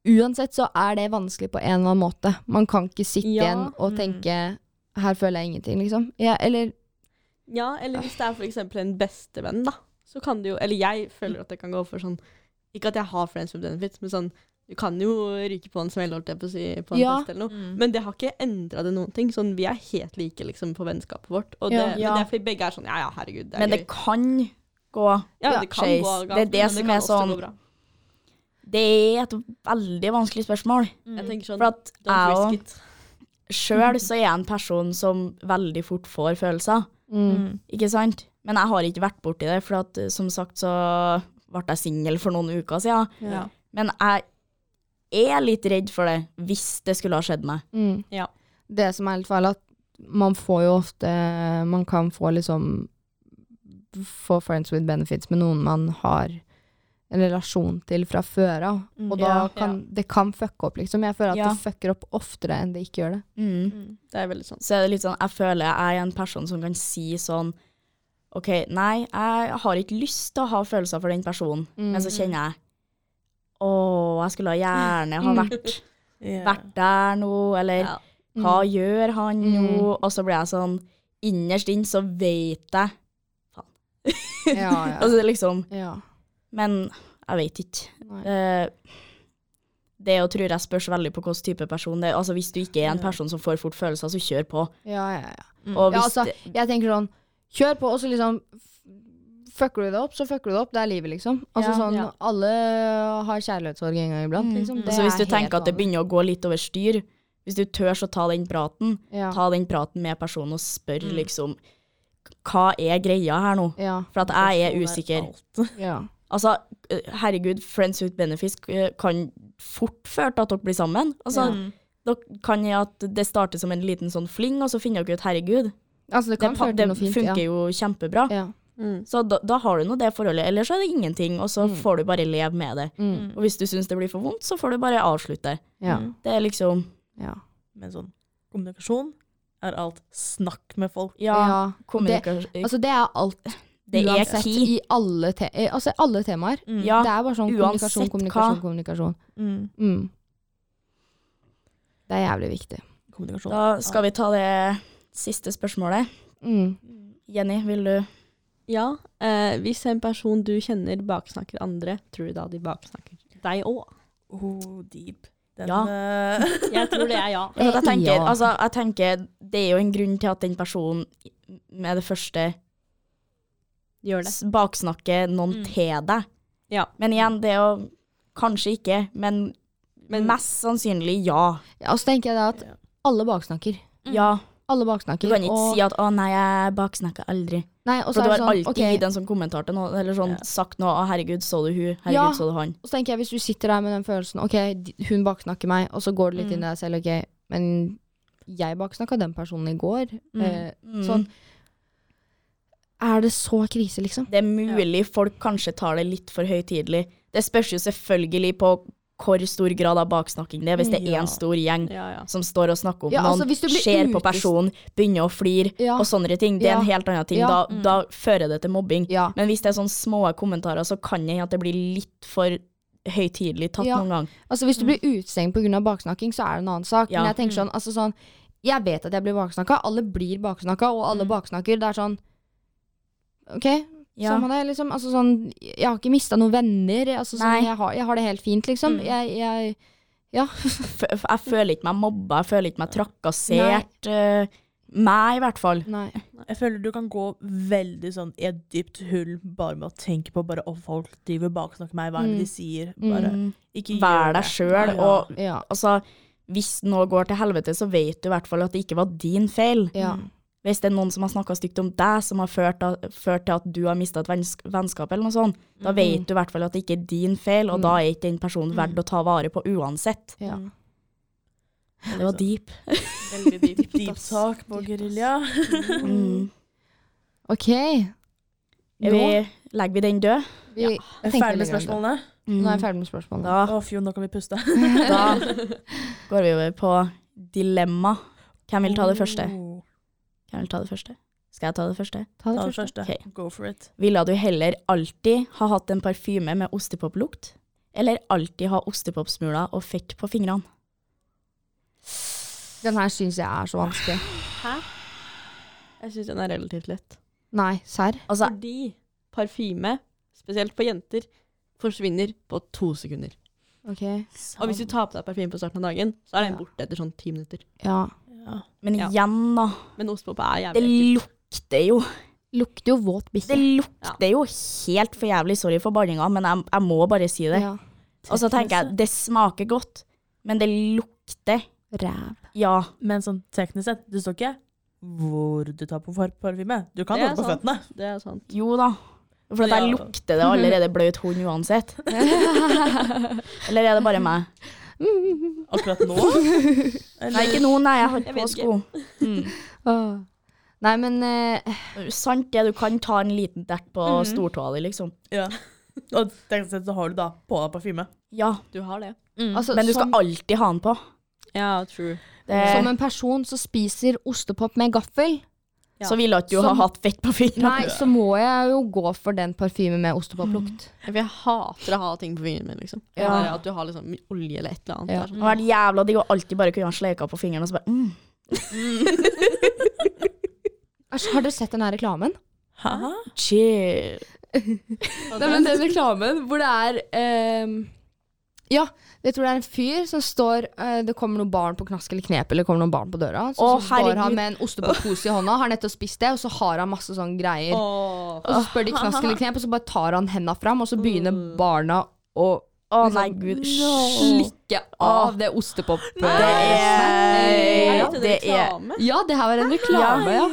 S2: Uansett så er det vanskelig på en eller annen måte. Man kan ikke sitte
S1: Ja.
S2: igjen og
S4: Mm.
S2: tenke Her føler jeg ingenting, liksom. Ja, eller
S1: Ja, eller hvis det er for eksempel en bestevenn, da. Så kan du jo Eller jeg føler at det kan gå for sånn Ikke at jeg har friends with benefits, men sånn Du kan jo ryke på en smell, holdt jeg på å si, på en
S2: Ja.
S1: fest eller noe.
S4: Mm.
S1: Men det har ikke endra det noen ting. Sånn, vi er helt like liksom, på vennskapet vårt. Og det,
S2: Ja.
S1: Men det er fordi begge er sånn Ja, ja, herregud, det er
S3: Men det
S1: gøy.
S3: kan gå
S1: Ja, det kan
S3: skeis.
S1: gå
S3: Det er
S1: galt,
S3: det
S1: men
S3: som
S1: kan
S3: er
S1: også gå
S3: sånn-
S1: bra.
S3: Det er et veldig vanskelig spørsmål.
S1: Jeg tenker
S3: Mm.
S1: sånn
S3: For at jeg
S1: Don't
S3: òg
S1: risk it.
S3: sjøl så er jeg en person som veldig fort får følelser,
S2: mm.
S3: ikke sant? Men jeg har ikke vært borti det, for at, eh, som sagt så ble jeg singel for noen uker siden.
S1: Ja.
S3: Men jeg er litt redd for det, hvis det skulle ha skjedd meg.
S2: Mm.
S1: Ja.
S2: Det som er litt feil, er at man får jo ofte Man kan få liksom Få friends with benefits med noen man har en relasjon til fra før av. Og da
S3: Mm, Ja.
S2: kan det kan fucke opp, liksom. Jeg føler at
S3: Ja.
S2: det fucker opp oftere enn det ikke gjør det.
S3: Mm.
S1: Det er veldig sånn.
S3: Så er det litt sånn, jeg føler jeg er en person som kan si sånn OK, nei, jeg har ikke lyst til å ha følelser for den personen,
S2: Mm.
S3: men så kjenner jeg Å, jeg skulle gjerne ha vært
S4: Ja.
S3: vært der nå, eller
S1: Ja.
S3: hva gjør han
S2: Mm.
S3: nå? Og så blir jeg sånn, innerst inn så vet jeg.
S2: Ja, ja.
S3: Altså liksom,
S2: ja.
S3: men jeg vet ikke.
S2: Nei.
S3: Eh, det jo tror jeg spørs veldig på hvilken type person det er. Altså, hvis du ikke er en person som får fort følelser, så kjør på.
S2: Ja, ja, ja.
S3: Og
S2: ja
S3: hvis
S2: altså, jeg tenker sånn Kjør på, og så liksom f- Fucker du det opp, så fucker du det opp. Det er livet, liksom. Altså
S3: Ja,
S2: sånn,
S3: ja.
S2: Alle har kjærlighetssorg en gang iblant. Liksom.
S3: altså, hvis du tenker at det begynner å gå litt over styr, hvis du tør å ta den praten,
S2: ja.
S3: ta den praten med personen og spør
S2: Mm.
S3: liksom Hva er greia her nå?
S2: ja,
S3: For at jeg er usikker.
S2: ja.
S3: Altså, eh, herregud, friends with benefits eh, kan fort føre til at dere blir sammen. Altså, Dere kan jo at det starter som en liten sånn fling, og så finner dere ut herregud,
S2: Altså,
S3: det,
S2: det kan
S3: pa-
S2: føre
S3: det
S2: til noe fint.
S3: funker
S2: ja.
S3: jo kjempebra.
S2: Ja.
S1: Mm.
S3: Så da, da har du nå det forholdet, eller så er det ingenting, og så får du bare leve med det.
S2: Mm.
S3: Og hvis du syns det blir for vondt, så får du bare avslutte.
S2: Ja.
S3: Det er liksom
S2: Ja.
S4: Men sånn kommunikasjon er alt. Snakk med folk.
S3: Ja,
S2: Ja,
S3: kommunikasjon det,
S2: Altså, det er alt.
S3: er
S2: uansett,
S3: key.
S2: i alle, te eh, altså, alle temaer.
S3: Ja,
S2: Det er bare sånn
S3: uansett
S2: kommunikasjon, kommunikasjon,
S3: hva.
S2: kommunikasjon.
S4: Mm.
S2: Mm. Det er jævlig viktig.
S4: Kommunikasjon.
S3: da skal vi ta det siste spørsmålet.
S2: Mm.
S3: Jenny, vil du
S1: Ja, eh, hvis en person du kjenner baksnakker andre, tror du da de baksnakker deg òg?
S4: Oh, deep. Den,
S3: Ja.
S4: eh,
S1: Jeg tror det er ja.
S3: For at jeg, tenker,
S2: Ja.
S3: altså, jeg tenker det er jo en grunn til at den personen med det første
S1: Gjør det.
S3: s- baksnakker noen
S2: Mm.
S3: til deg.
S1: Ja.
S3: Men igjen, det er jo kanskje ikke, men,
S1: Men-
S3: mest sannsynlig ja.
S2: Ja, og så tenker jeg da at alle baksnakker.
S3: Ja,
S2: Alle
S3: Du
S2: baksnakker.
S3: kan ikke
S2: Mm. og-
S3: si at 'å nei, jeg baksnakka aldri'.
S2: Nei, og så
S3: For
S2: er
S3: du har
S2: det sånn,
S3: alltid
S2: ok,
S3: gitt en sånn kommentar til noen, eller sånn
S4: Ja.
S3: sagt noe 'å herregud, så du hun', 'herregud,
S2: Ja.
S3: så du han'.
S2: Og så tenker jeg, hvis du sitter der med den følelsen Ok, d- hun baksnakker meg, og så går det litt inn i
S3: Mm.
S2: deg selv, ok, men jeg baksnakka den personen i går. Eh,
S3: Mm,
S2: Sånn. Er det så krise, liksom?
S3: Det er mulig folk kanskje tar det litt for høytidelig. Det spørs jo selvfølgelig på hvor stor grad av baksnakking det er, hvis det er
S4: Ja.
S3: én stor gjeng.
S1: Ja, ja.
S3: som står og snakker om
S2: Ja,
S3: noen,
S2: altså, hvis du blir
S3: ser på
S2: utest-
S3: personen, begynner å flire
S2: Ja.
S3: og sånne ting. Det er en
S2: Ja.
S3: helt annen ting.
S2: Ja. Mm.
S3: Da, da fører det til mobbing.
S2: Ja.
S3: Men hvis det er sånne små kommentarer, så kan jeg at det blir litt for høytidelig tatt
S2: Ja.
S3: noen gang.
S2: Altså, hvis du blir utestengt pga. baksnakking, så er det en annen sak.
S3: Mm. Ja.
S2: Men jeg tenker sånn, altså sånn Jeg vet at jeg blir baksnakka. Alle blir baksnakka, og
S3: Mm.
S2: alle baksnakker. Det er sånn OK,
S3: Ja.
S2: samme det, liksom. Altså sånn Jeg har ikke mista noen venner. Altså
S3: Nei.
S2: sånn jeg har, jeg har det helt fint, liksom. Jeg, jeg Ja.
S3: F f- jeg føler ikke meg mobba, jeg føler ikke meg trakassert. eh, meg, i hvert fall.
S2: Nei.
S4: Jeg føler du kan gå veldig sånn i et dypt hull bare med å tenke på bare om folk driver baksnakker meg, hva er det de sier? Bare, ikke
S3: Mm. Vær
S4: gjør
S3: deg
S4: det.
S3: sjøl.
S4: Ja.
S3: Og
S2: Ja.
S3: altså, hvis noe går til helvete, så vet du i hvert fall at det ikke var din feil.
S2: Ja.
S3: hvis det er noen som har snakka stygt om deg, som har ført, ført til at du har mista et vennsk- vennskap, eller noe sånt,
S2: Mm.
S3: da vet du i hvert fall at det ikke er din feil, og da er ikke den personen verdt å ta vare på uansett.
S2: ja.
S3: Det var deep.
S1: Veldig dypt.
S4: Deep talk sånn på gerilja.
S2: Mm. OK.
S3: Mm. Er vi, legger vi den død? Mm.
S2: Vi
S4: Er
S2: tenker
S4: Ferdig med
S2: litt grann
S4: spørsmålene?
S2: Nå er jeg ferdig med spørsmålene.
S3: Da,
S4: Å, fjo, nå kan vi puste.
S3: da går vi over på dilemma. Hvem vil ta det første?
S4: Oh,
S3: Hvem vil ta det første? Skal jeg ta det første?
S2: Ta
S4: Ta
S2: det
S4: det
S2: først.
S4: første.
S3: Ok.
S4: Go for it.
S3: Ville du heller alltid ha hatt en parfyme med ostepoplukt, eller alltid ha ostepopsmuler og fett på fingrene?
S2: Den her syns jeg er så vanskelig.
S1: Jeg syns den er relativt lett.
S2: Nei, serr?
S3: Altså,
S1: Fordi parfyme, spesielt på jenter, forsvinner på to sekunder.
S2: OK.
S1: Og hvis du tar på deg parfyme på starten av dagen, så er den borte etter sånn ti minutter.
S2: Ja.
S4: Ja.
S3: men
S1: Ja.
S3: igjen, da.
S1: Men ostepop er
S3: Det
S1: jævlig ekkelt.
S3: lukter jo
S2: Lukter jo våt
S3: Det
S2: bikkje.
S3: lukter jo helt for jævlig. Sorry for banninga, men jeg, jeg må bare si det.
S2: Ja.
S3: Og så tenker jeg, det smaker godt, men det lukter
S2: Ræv.
S3: Ja.
S4: Men sånn teknisk sett, det står ikke hvor du tar på par- parfyme. Du kan
S1: Det
S4: ta det
S1: er
S4: på
S1: sant.
S4: føttene.
S1: Det er sant.
S3: Jo da. For at
S4: Ja.
S3: jeg lukter det allerede bløt hund uansett. Eller er det bare meg?
S4: Akkurat nå. Eller-
S3: Nei, ikke nå, nei. Jeg har
S1: Jeg
S3: ikke
S1: vet
S3: på sko. Mm.
S2: Åh. Nei, men eh,
S3: Sant det, du kan ta en liten dert på stortåa di, liksom.
S4: Ja. Og teknisk sett så har du da på deg parfyme.
S3: Ja,
S1: Du har det.
S2: altså,
S3: men du skal
S2: som,
S3: alltid ha den på.
S1: Ja, true.
S3: Det,
S2: som en person som spiser ostepop med gaffel,
S1: ja.
S3: Så ville at du
S2: Som-
S3: ha hatt fett på fingrene.
S2: nei, så må jeg jo gå for den parfymen med ostepoplukt.
S1: For jeg hater å ha ting på fingrene mine, liksom.
S2: Ja.
S1: Bare At du har liksom olje eller et eller annet.
S2: Ja.
S1: Det er sånn-
S3: Det hadde vært jævla digg å alltid bare kunne ha sleika på fingrene og så bare mm.
S2: Æsj, har dere sett den her reklamen?
S4: Hæ?
S3: Chill.
S2: Nei, men den reklamen hvor det er ehm, Ja, jeg tror det er en fyr som står eh, Det kommer noen barn på knask eller knep, eller det kommer noen barn på døra. Så,
S3: Å,
S2: så står
S3: herregud.
S2: han med en ostepopose i hånda, har nettopp spist det, og så har han masse sånne greier.
S1: Åh.
S2: Og så spør de knask eller knep, og så bare tar han henda fram, og så begynner barna å
S3: Mm. Å
S2: liksom
S3: nei, gud. Slik.
S2: slikke av det ostepop...
S3: Det
S2: Nei.
S3: er
S1: Er dette
S3: Det er
S1: reklame?
S2: Ja, det her var en reklame, ja.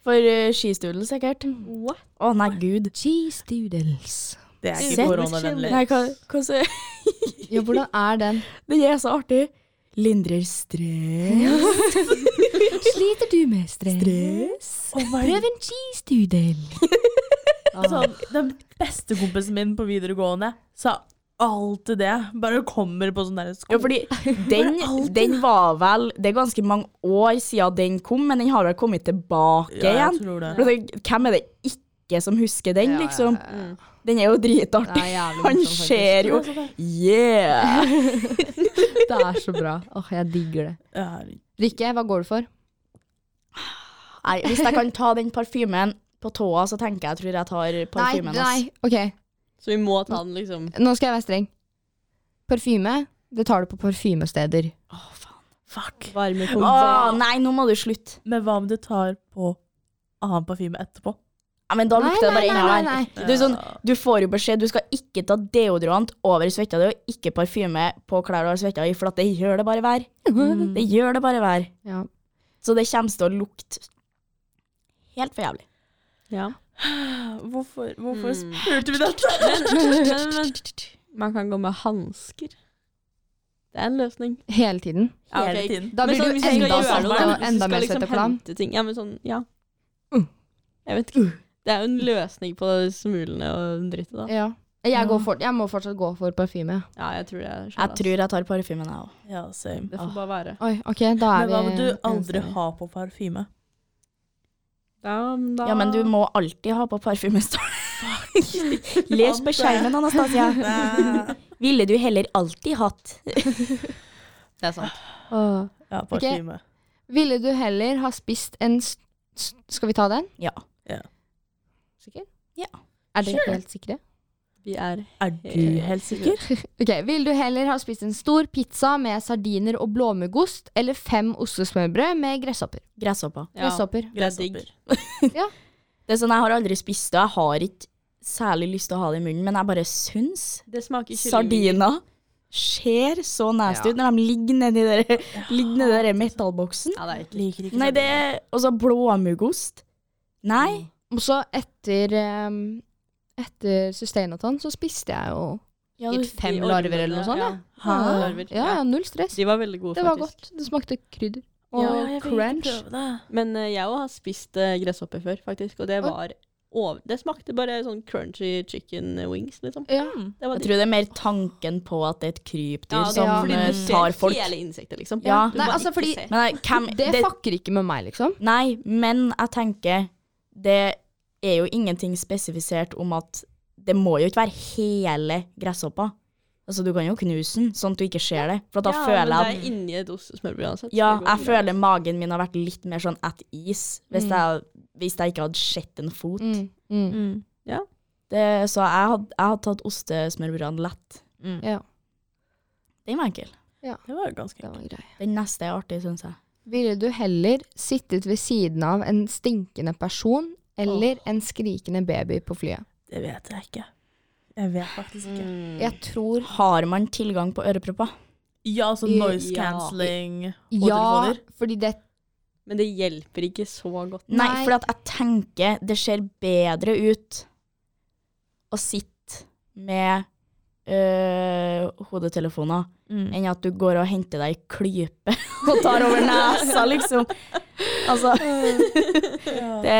S3: For eh, skistulen, sikkert.
S2: Mm.
S3: Å
S1: What?
S3: nei, gud.
S2: Cheese doodles.
S4: Det er
S3: Sett-
S4: ikke koronavennlig.
S3: Nei, hva, hva sier
S2: Ja, hvordan er den?
S3: Den er så artig. Lindrer stress.
S2: Sliter du med
S3: stress.
S2: Prøv en cheese doodle.
S4: Sånn, den beste kompisen min på videregående sa alltid det. Bare kommer på sånn derre
S3: Ja,
S4: skole...
S3: fordi den, den var vel Det er ganske mange år siden den kom, men den har vel kommet tilbake
S4: Ja, jeg
S3: igjen.
S4: tror det.
S3: For det- Hvem er det ikke som husker den, liksom? Den er jo
S2: Det
S3: dritartig.
S2: er jævlig
S3: Han
S2: morsomt, faktisk.
S3: ser jo Yeah!
S2: Det er så bra. Åh, jeg digger det.
S4: Ja,
S2: Rikke, hva går du for?
S3: Nei, hvis jeg kan ta den parfymen på tåa, så tenker jeg jeg tror jeg tar parfymen. ass.
S2: nei. Ok,
S1: Så vi må ta den, liksom.
S2: nå skal jeg være streng. Parfyme, det tar du på parfymesteder.
S4: Fuck.
S1: Varme
S3: Åh, nei, nå må du slutte.
S4: Men hva om du tar på annen parfyme etterpå?
S3: Ja, men da
S2: Nei,
S3: lukter det
S2: nei,
S3: bare
S2: nei,
S3: inn
S2: nei,
S3: her.
S2: nei.
S3: Du, er sånn, du får jo beskjed, du skal ikke ta deodorant over svetta di, og ikke parfyme på klær du har svetta i, for at det gjør det bare vær. Det gjør det bare vær.
S2: Ja.
S3: Så det kommer til å lukte helt for jævlig.
S1: Ja.
S4: Hvorfor, hvorfor
S1: Mm.
S4: spurte vi dette?
S1: Men, men, men man kan gå med hansker. Det er en løsning.
S2: Hele tiden.
S1: Ja, ok.
S4: Hele tiden.
S2: Da
S1: Men
S2: blir
S1: sånn
S2: du
S1: hvis jeg skal
S2: enda
S1: gjøre
S2: satt
S1: noe, da,
S2: og
S1: hvis du
S2: enda
S1: skal
S2: mer
S1: liksom
S2: sett etter plan.
S1: hente ting. Ja, men sånn, ja.
S2: Mm.
S1: Jeg vet ikke. Det er jo en løsning på smulene og drittet, da.
S2: Ja. Jeg, går for, jeg må fortsatt gå for parfyme.
S1: Ja, jeg tror det er sånn.
S3: Jeg tror jeg tar parfymen, jeg òg.
S4: Ja, same.
S1: Det får bare være.
S2: Oi, ok, da er
S4: Men
S2: vi
S4: hva om du aldri
S2: enstemmige.
S4: har på parfyme?
S1: Da, da.
S3: Ja, men du må alltid ha på parfymestål. Les på skjermen, Anastasia. Ville du heller alltid hatt
S1: Det er sant.
S2: Åh.
S4: Ja, parfyme.
S2: Ville du heller ha spist en s- s- Skal vi ta den?
S3: Ja.
S4: Ja.
S2: Sikker?
S3: Ja.
S2: Er dere helt sikre?
S1: Vi er
S4: Er
S1: Eh,
S4: du helt sikker?
S2: Ok, Vil du heller ha spist en stor pizza med sardiner og blåmuggost, eller fem ostesmørbrød med gresshopper?
S3: gresshopper?
S1: Ja,
S2: Gresshopper.
S1: det er digg.
S3: Det er sånn, Jeg har aldri spist det, jeg har ikke særlig lyst til å ha det i munnen, men jeg bare syns
S1: Det smaker kyllingvinger.
S3: Sardina ser så nasty ut når de ligger nedi der, ligger nedi der metallboksen.
S1: Ja, det er ikke
S4: Liker ikke
S3: Nei, det er også blåmuggost. Nei.
S2: Og så etter um, Etter Sustainathon så spiste jeg jo Gitt fem larver eller noe sånt, ja.
S1: Ja,
S2: Ja,
S1: larver.
S2: ja, null stress.
S1: De var veldig gode,
S2: Det var
S1: faktisk.
S2: godt. Det smakte krydder.
S1: Ja,
S2: Og
S4: Ja, jeg vil ikke
S2: crunch.
S4: prøve det.
S1: Men eh, jeg òg har spist eh, gresshopper før, faktisk. Og det
S2: Oi.
S1: var over... Det smakte bare sånn crunchy chicken wings, liksom.
S2: Ja.
S1: Det var
S3: Jeg
S1: digg.
S3: tror det er mer tanken på at det er et krypdyr
S1: Ja, det-
S3: som
S2: ja,
S1: fordi
S3: eh,
S1: du ser
S3: tar folk.
S1: Hele insekter, liksom.
S3: Ja.
S1: Du
S2: Nei,
S1: bare
S2: altså,
S1: ikke
S2: fordi-
S1: ser.
S3: Men jeg- hvem
S2: Det
S3: det,
S2: fucker ikke med meg, liksom.
S3: Nei, men jeg tenker Det er jo ingenting spesifisert om at det må jo ikke være hele gresshoppa. Altså, du kan jo knuse den, sånn at du ikke ser det. For da
S1: ja,
S3: føler jeg at
S1: Men det er inni et ost- smørbrød uansett. så
S3: Ja,
S1: det går
S3: jeg
S1: ikke.
S3: føler magen min har vært litt mer sånn at is,
S1: Mm.
S3: hvis, jeg, hvis jeg ikke hadde sett en fot.
S2: Mm, mm,
S3: Det, så jeg hadde, jeg hadde tatt ostesmørbrødene lett.
S2: ja,
S3: Den var enkel.
S4: Det var ganske
S2: det var grei.
S3: Den neste er artig, syns jeg.
S2: Ville du heller sittet ved siden av en stinkende person eller en skrikende baby på flyet?
S4: Det vet jeg ikke. Jeg vet faktisk ikke.
S1: Mm.
S2: Jeg tror
S3: Har man tilgang på ørepropper?
S4: Ja, så
S2: I-
S4: noise
S1: ja.
S4: cancelling og
S2: ja,
S4: telefoner.
S2: fordi det
S1: Men det hjelper ikke så godt.
S3: Nei,
S2: Nei.
S3: for at jeg tenker det ser bedre ut å sitte med øh, hodetelefoner enn at du går og henter deg i klype og tar over nesa, liksom. Altså Det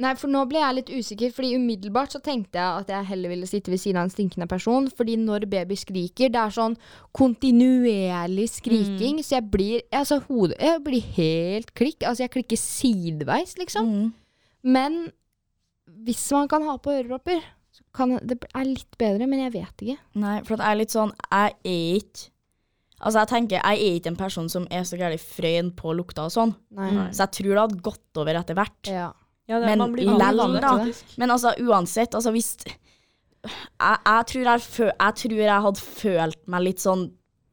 S2: Nei, for nå ble jeg litt usikker, fordi umiddelbart så tenkte jeg at jeg heller ville sitte ved siden av en stinkende person, fordi når baby skriker, det er sånn kontinuerlig skriking, så jeg blir, altså hodet, jeg blir helt klikk, altså jeg klikker sideveis, liksom.
S3: Mm.
S2: Men hvis man kan ha på ørepropper, så kan det er litt bedre, men jeg vet ikke.
S3: Nei, for at jeg er litt sånn Jeg er ikke Altså, jeg tenker Jeg er ikke en person som er så gærent frøyen på lukta og sånn,
S2: Nei.
S3: så jeg tror det hadde gått over etter hvert.
S2: Ja.
S1: Ja,
S3: Men
S1: man blir
S3: lell,
S1: vant til det.
S3: da. Men altså, uansett, altså hvis jeg, jeg, tror jeg, fø, jeg tror jeg hadde følt meg litt sånn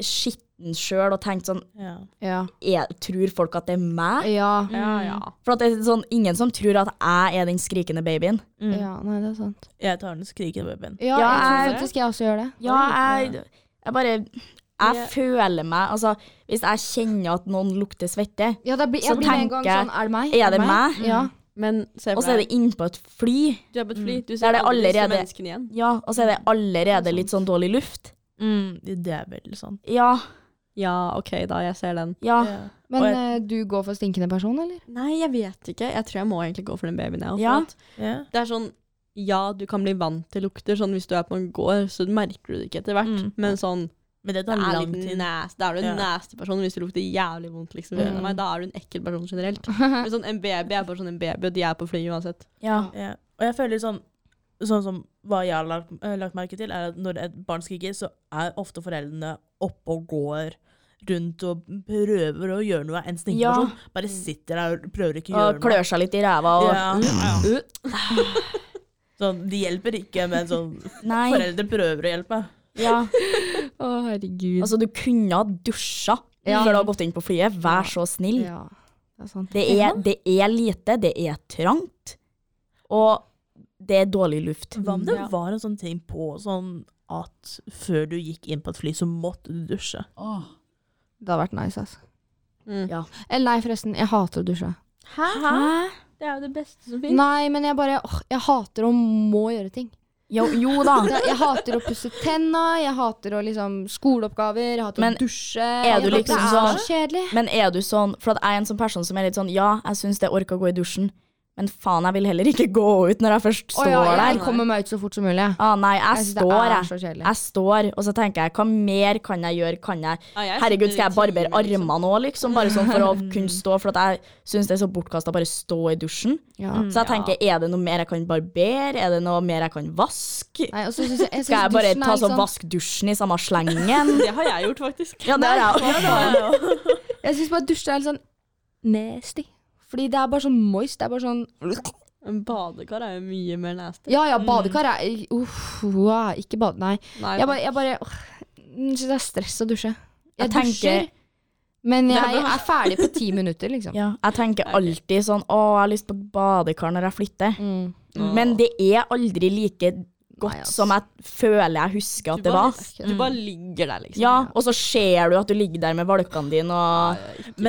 S3: skitten sjøl og tenkt sånn
S4: Ja.
S2: Ja.
S3: jeg, Tror folk at det er meg?
S2: Ja.
S1: Ja, ja.
S3: For at det er sånn, ingen som tror at jeg er den skrikende babyen.
S4: Mm.
S2: ja. Nei, det er sant.
S4: Jeg tar den skrikende babyen.
S2: Ja,
S3: Ja,
S2: jeg tror
S3: jeg-
S2: faktisk jeg også gjør det.
S3: Ja, jeg, jeg bare Jeg føler meg Altså, hvis jeg kjenner at noen lukter svette,
S2: Ja, da blir,
S3: Så
S2: jeg blir med en gang
S3: tenker jeg,
S2: sånn Er det meg?
S3: er det meg?
S2: Ja.
S1: Men se
S3: og
S1: for
S3: så er
S1: deg,
S3: det innpå et fly
S1: du er på et fly. Du
S3: Der
S1: ser
S3: det
S1: alle disse
S3: allerede-
S1: menneskene igjen.
S3: Ja, og så er det allerede litt sånn dårlig luft.
S1: Mm.
S4: Det er veldig sånn.
S3: Ja,
S1: Ja, OK, da. Jeg ser den.
S3: ja.
S4: Ja.
S2: Men
S4: Og jeg-
S2: eh, du går for stinkende person, eller?
S1: Nei, jeg vet ikke. Jeg tror jeg må egentlig gå for den babyen. Jeg, for
S3: Ja.
S1: at
S4: Ja.
S1: Det er sånn Ja, du kan bli vant til lukter. Sånn hvis du er på en gård, så merker du det ikke etter hvert.
S4: Mm.
S1: Men sånn
S4: Men det
S1: det
S4: tar
S1: er
S4: lang
S1: litt
S4: tid.
S1: næs- Da er du en
S4: Ja.
S1: nasty person hvis det lukter jævlig vondt. liksom.
S4: Ja.
S1: gjennom meg. Da er du en ekkel person generelt. Men sånn, En baby er bare sånn en baby, og de er på fly uansett.
S3: ja.
S4: Ja. Og jeg føler sånn Sånn som hva jeg har lagt, eh, lagt merke til, er at når et barn skriker, så er ofte foreldrene oppe og går rundt og prøver å gjøre noe. En
S3: Ja.
S4: stinkeperson bare sitter der og prøver ikke å
S3: Og
S4: gjøre noe.
S3: klør seg litt i ræva og
S4: Ja. Sånn, de hjelper ikke, men sånn,
S3: Nei.
S4: foreldre prøver å hjelpe.
S3: Ja.
S2: Å, herregud.
S3: Altså, du kunne ha dusja
S2: Ja.
S3: før du har gått inn på flyet. Vær så snill.
S2: ja. Det er sant.
S3: Det, er, det er lite, det er trangt, og det er dårlig luft.
S4: Hva om det
S1: Ja.
S4: var en sånn ting på sånn at før du gikk inn på et fly, så måtte du dusje?
S2: Det hadde vært nice, altså.
S1: Mm.
S3: Ja.
S2: Eller nei, forresten. Jeg hater å dusje.
S1: Hæ?
S3: Hæ?
S1: Det er jo det beste som fins.
S2: Nei, men jeg bare åh, Jeg hater å må gjøre ting.
S3: Jo, jo da.
S2: Jeg, jeg hater å pusse tenna, jeg hater å liksom skoleoppgaver, jeg hater
S3: Men
S2: å
S3: du
S2: dusje. Jeg-
S3: liksom
S2: det er
S3: sånn-
S2: så kjedelig.
S3: Men er du sånn For at jeg er en sånn person som er litt sånn Ja, jeg syns det orker å gå i dusjen, men faen, jeg vil heller ikke gå ut når jeg først
S2: Å
S3: står
S2: ja, jeg
S3: der.
S2: kommer meg ut så fort som mulig.
S3: Ah, nei, jeg,
S2: Jeg synes
S3: står,
S2: det er
S3: jeg.
S2: så kjedelig.
S3: Jeg står, og så tenker jeg hva mer kan jeg gjøre? Kan jeg Herregud, skal jeg barbere armene òg, liksom? Bare sånn for å kunne stå, for at jeg syns det er så bortkasta bare stå i dusjen.
S2: Ja.
S3: Så jeg tenker, er det noe mer jeg kan barbere? Er det noe mer jeg kan vaske?
S2: Nei, og så synes jeg, jeg synes
S3: Skal jeg bare
S2: dusjen er
S3: ta
S2: litt
S3: sånn
S2: sånn-
S3: vask dusjen i samme slengen?
S1: Det har jeg gjort, faktisk.
S3: Ja, det har jeg også.
S2: Jeg syns bare dusje er litt sånn nasty. Fordi det er bare sånn moist. Det er bare sånn
S1: En badekar er jo mye mer nasty.
S2: Ja ja, badekar er Uff, wow, ikke bade... Nei.
S1: Nei,
S2: Jeg bare, jeg bare åh, jeg synes det er stress å dusje.
S3: Jeg
S2: Jeg
S3: tenker-
S2: dusjer, men jeg er ferdig på ti minutter, liksom.
S3: Ja, jeg tenker alltid sånn Å, jeg har lyst på badekar når jeg flytter.
S2: Mm.
S3: Men det er aldri like
S2: Nei,
S3: godt
S2: ass.
S3: som jeg føler jeg husker at
S1: du
S3: det
S1: bare,
S3: var.
S1: Du bare ligger der, liksom.
S3: Ja, og så ser du at du ligger der med valkene dine, og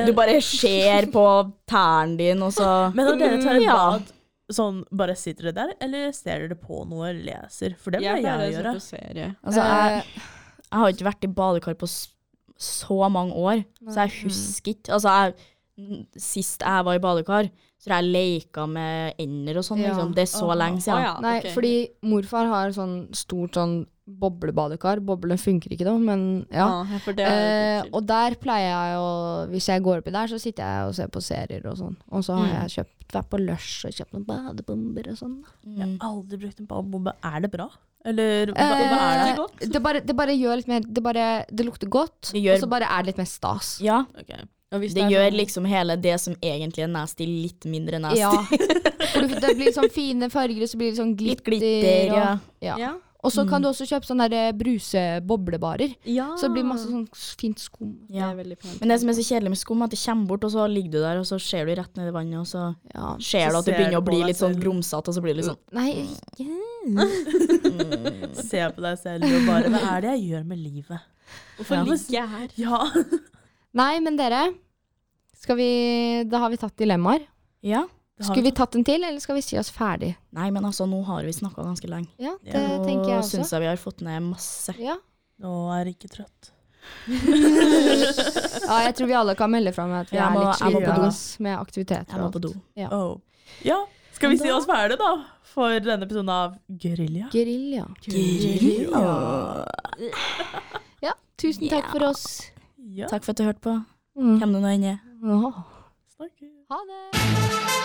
S3: du bare ser på tærne dine, og så Mm,
S4: Men når dere
S1: Mm,
S4: tar et
S3: Ja.
S4: bad, sånn, bare sitter dere der, eller ser dere på noe og leser? For det
S1: Jeg
S4: pleier
S1: pleier
S4: jeg å
S1: å se
S4: gjøre.
S1: på serie.
S3: Altså, jeg, jeg har ikke vært i badekar på s- så mange år, så jeg husker ikke. Altså, jeg, sist jeg var i badekar, så jeg leka med ender og sånn,
S2: Ja.
S3: liksom. Det er så lenge
S1: Å,
S3: siden.
S1: ja,
S2: Nei,
S1: ok.
S2: fordi morfar har sånn stort sånn boblebadekar. Boblene funker ikke da, men ja.
S1: Ja, for det er
S2: Eh, og der pleier jeg å Hvis jeg går oppi der, så sitter jeg og ser på serier og sånn. Og så har jeg kjøpt vært på Lush og kjøpt noen badebomber og sånn.
S4: Jeg
S1: Mm.
S3: Mm.
S4: har aldri brukt en badebombe. Er det bra? Eller hva, hva er det?
S2: Eh, det, bare, det bare gjør litt mer Det, bare, det lukter godt,
S3: Det gjør-
S2: og så bare er det litt mer stas.
S3: Ja,
S1: Og hvis
S3: det
S1: er
S3: gjør
S1: sånn-
S3: liksom hele det som egentlig er nasty, litt mindre nasty.
S2: Ja. For du- det blir sånn fine farger, og så blir det sånn
S3: Litt
S2: glitter.
S3: glitter,
S2: og,
S3: ja.
S2: ja. Mm. Og så kan du også kjøpe sånne der eh, bruseboblebarer.
S1: Eh, Ja.
S2: Så det blir masse sånn fint skum.
S3: Ja.
S1: Det er veldig pent.
S3: Men det som er så kjedelig med skum, er at det kommer bort, og så ligger du der, og så ser du rett ned i vannet, og så
S2: Ja.
S3: ser
S4: Så
S3: du at det
S4: ser du
S3: begynner å
S4: på
S3: bli
S4: deg
S3: litt sånn
S4: selv.
S3: grumsete, og så blir det litt sånn
S2: Nei, ikke
S4: Se på deg selv og bare Hva er det jeg gjør med livet?
S1: Hvorfor ligger jeg her?
S4: Ja.
S2: Nei, men dere skal vi, Da har vi tatt dilemmaer.
S3: Ja.
S2: Skulle vi tatt en til, eller skal vi si oss ferdig?
S3: Nei, men altså, nå har vi snakka ganske lenge.
S2: Ja, det
S4: Ja.
S2: tenker
S3: Nå
S2: jeg
S3: syns
S2: også.
S3: jeg vi har fått ned masse.
S2: Ja.
S4: Nå er jeg ikke trøtt.
S2: ja, jeg tror vi alle kan melde fra om at vi
S3: Jeg
S2: er
S3: må-
S2: litt
S3: jeg må
S2: slitne
S3: på
S2: i
S3: do.
S2: dag, ass, med aktiviteter.
S3: Jeg må
S2: og
S3: på do.
S2: alt. Ja.
S4: Oh. Ja, skal vi si oss ferdig da? For denne episoden av Guerilla.
S2: Gerilja. Ja, tusen takk for oss.
S4: Ja,
S3: Takk for at du hørte på.
S2: Mm.
S3: Hvem du nå enn er.
S2: Åh.
S4: snakkes.
S2: Ha det.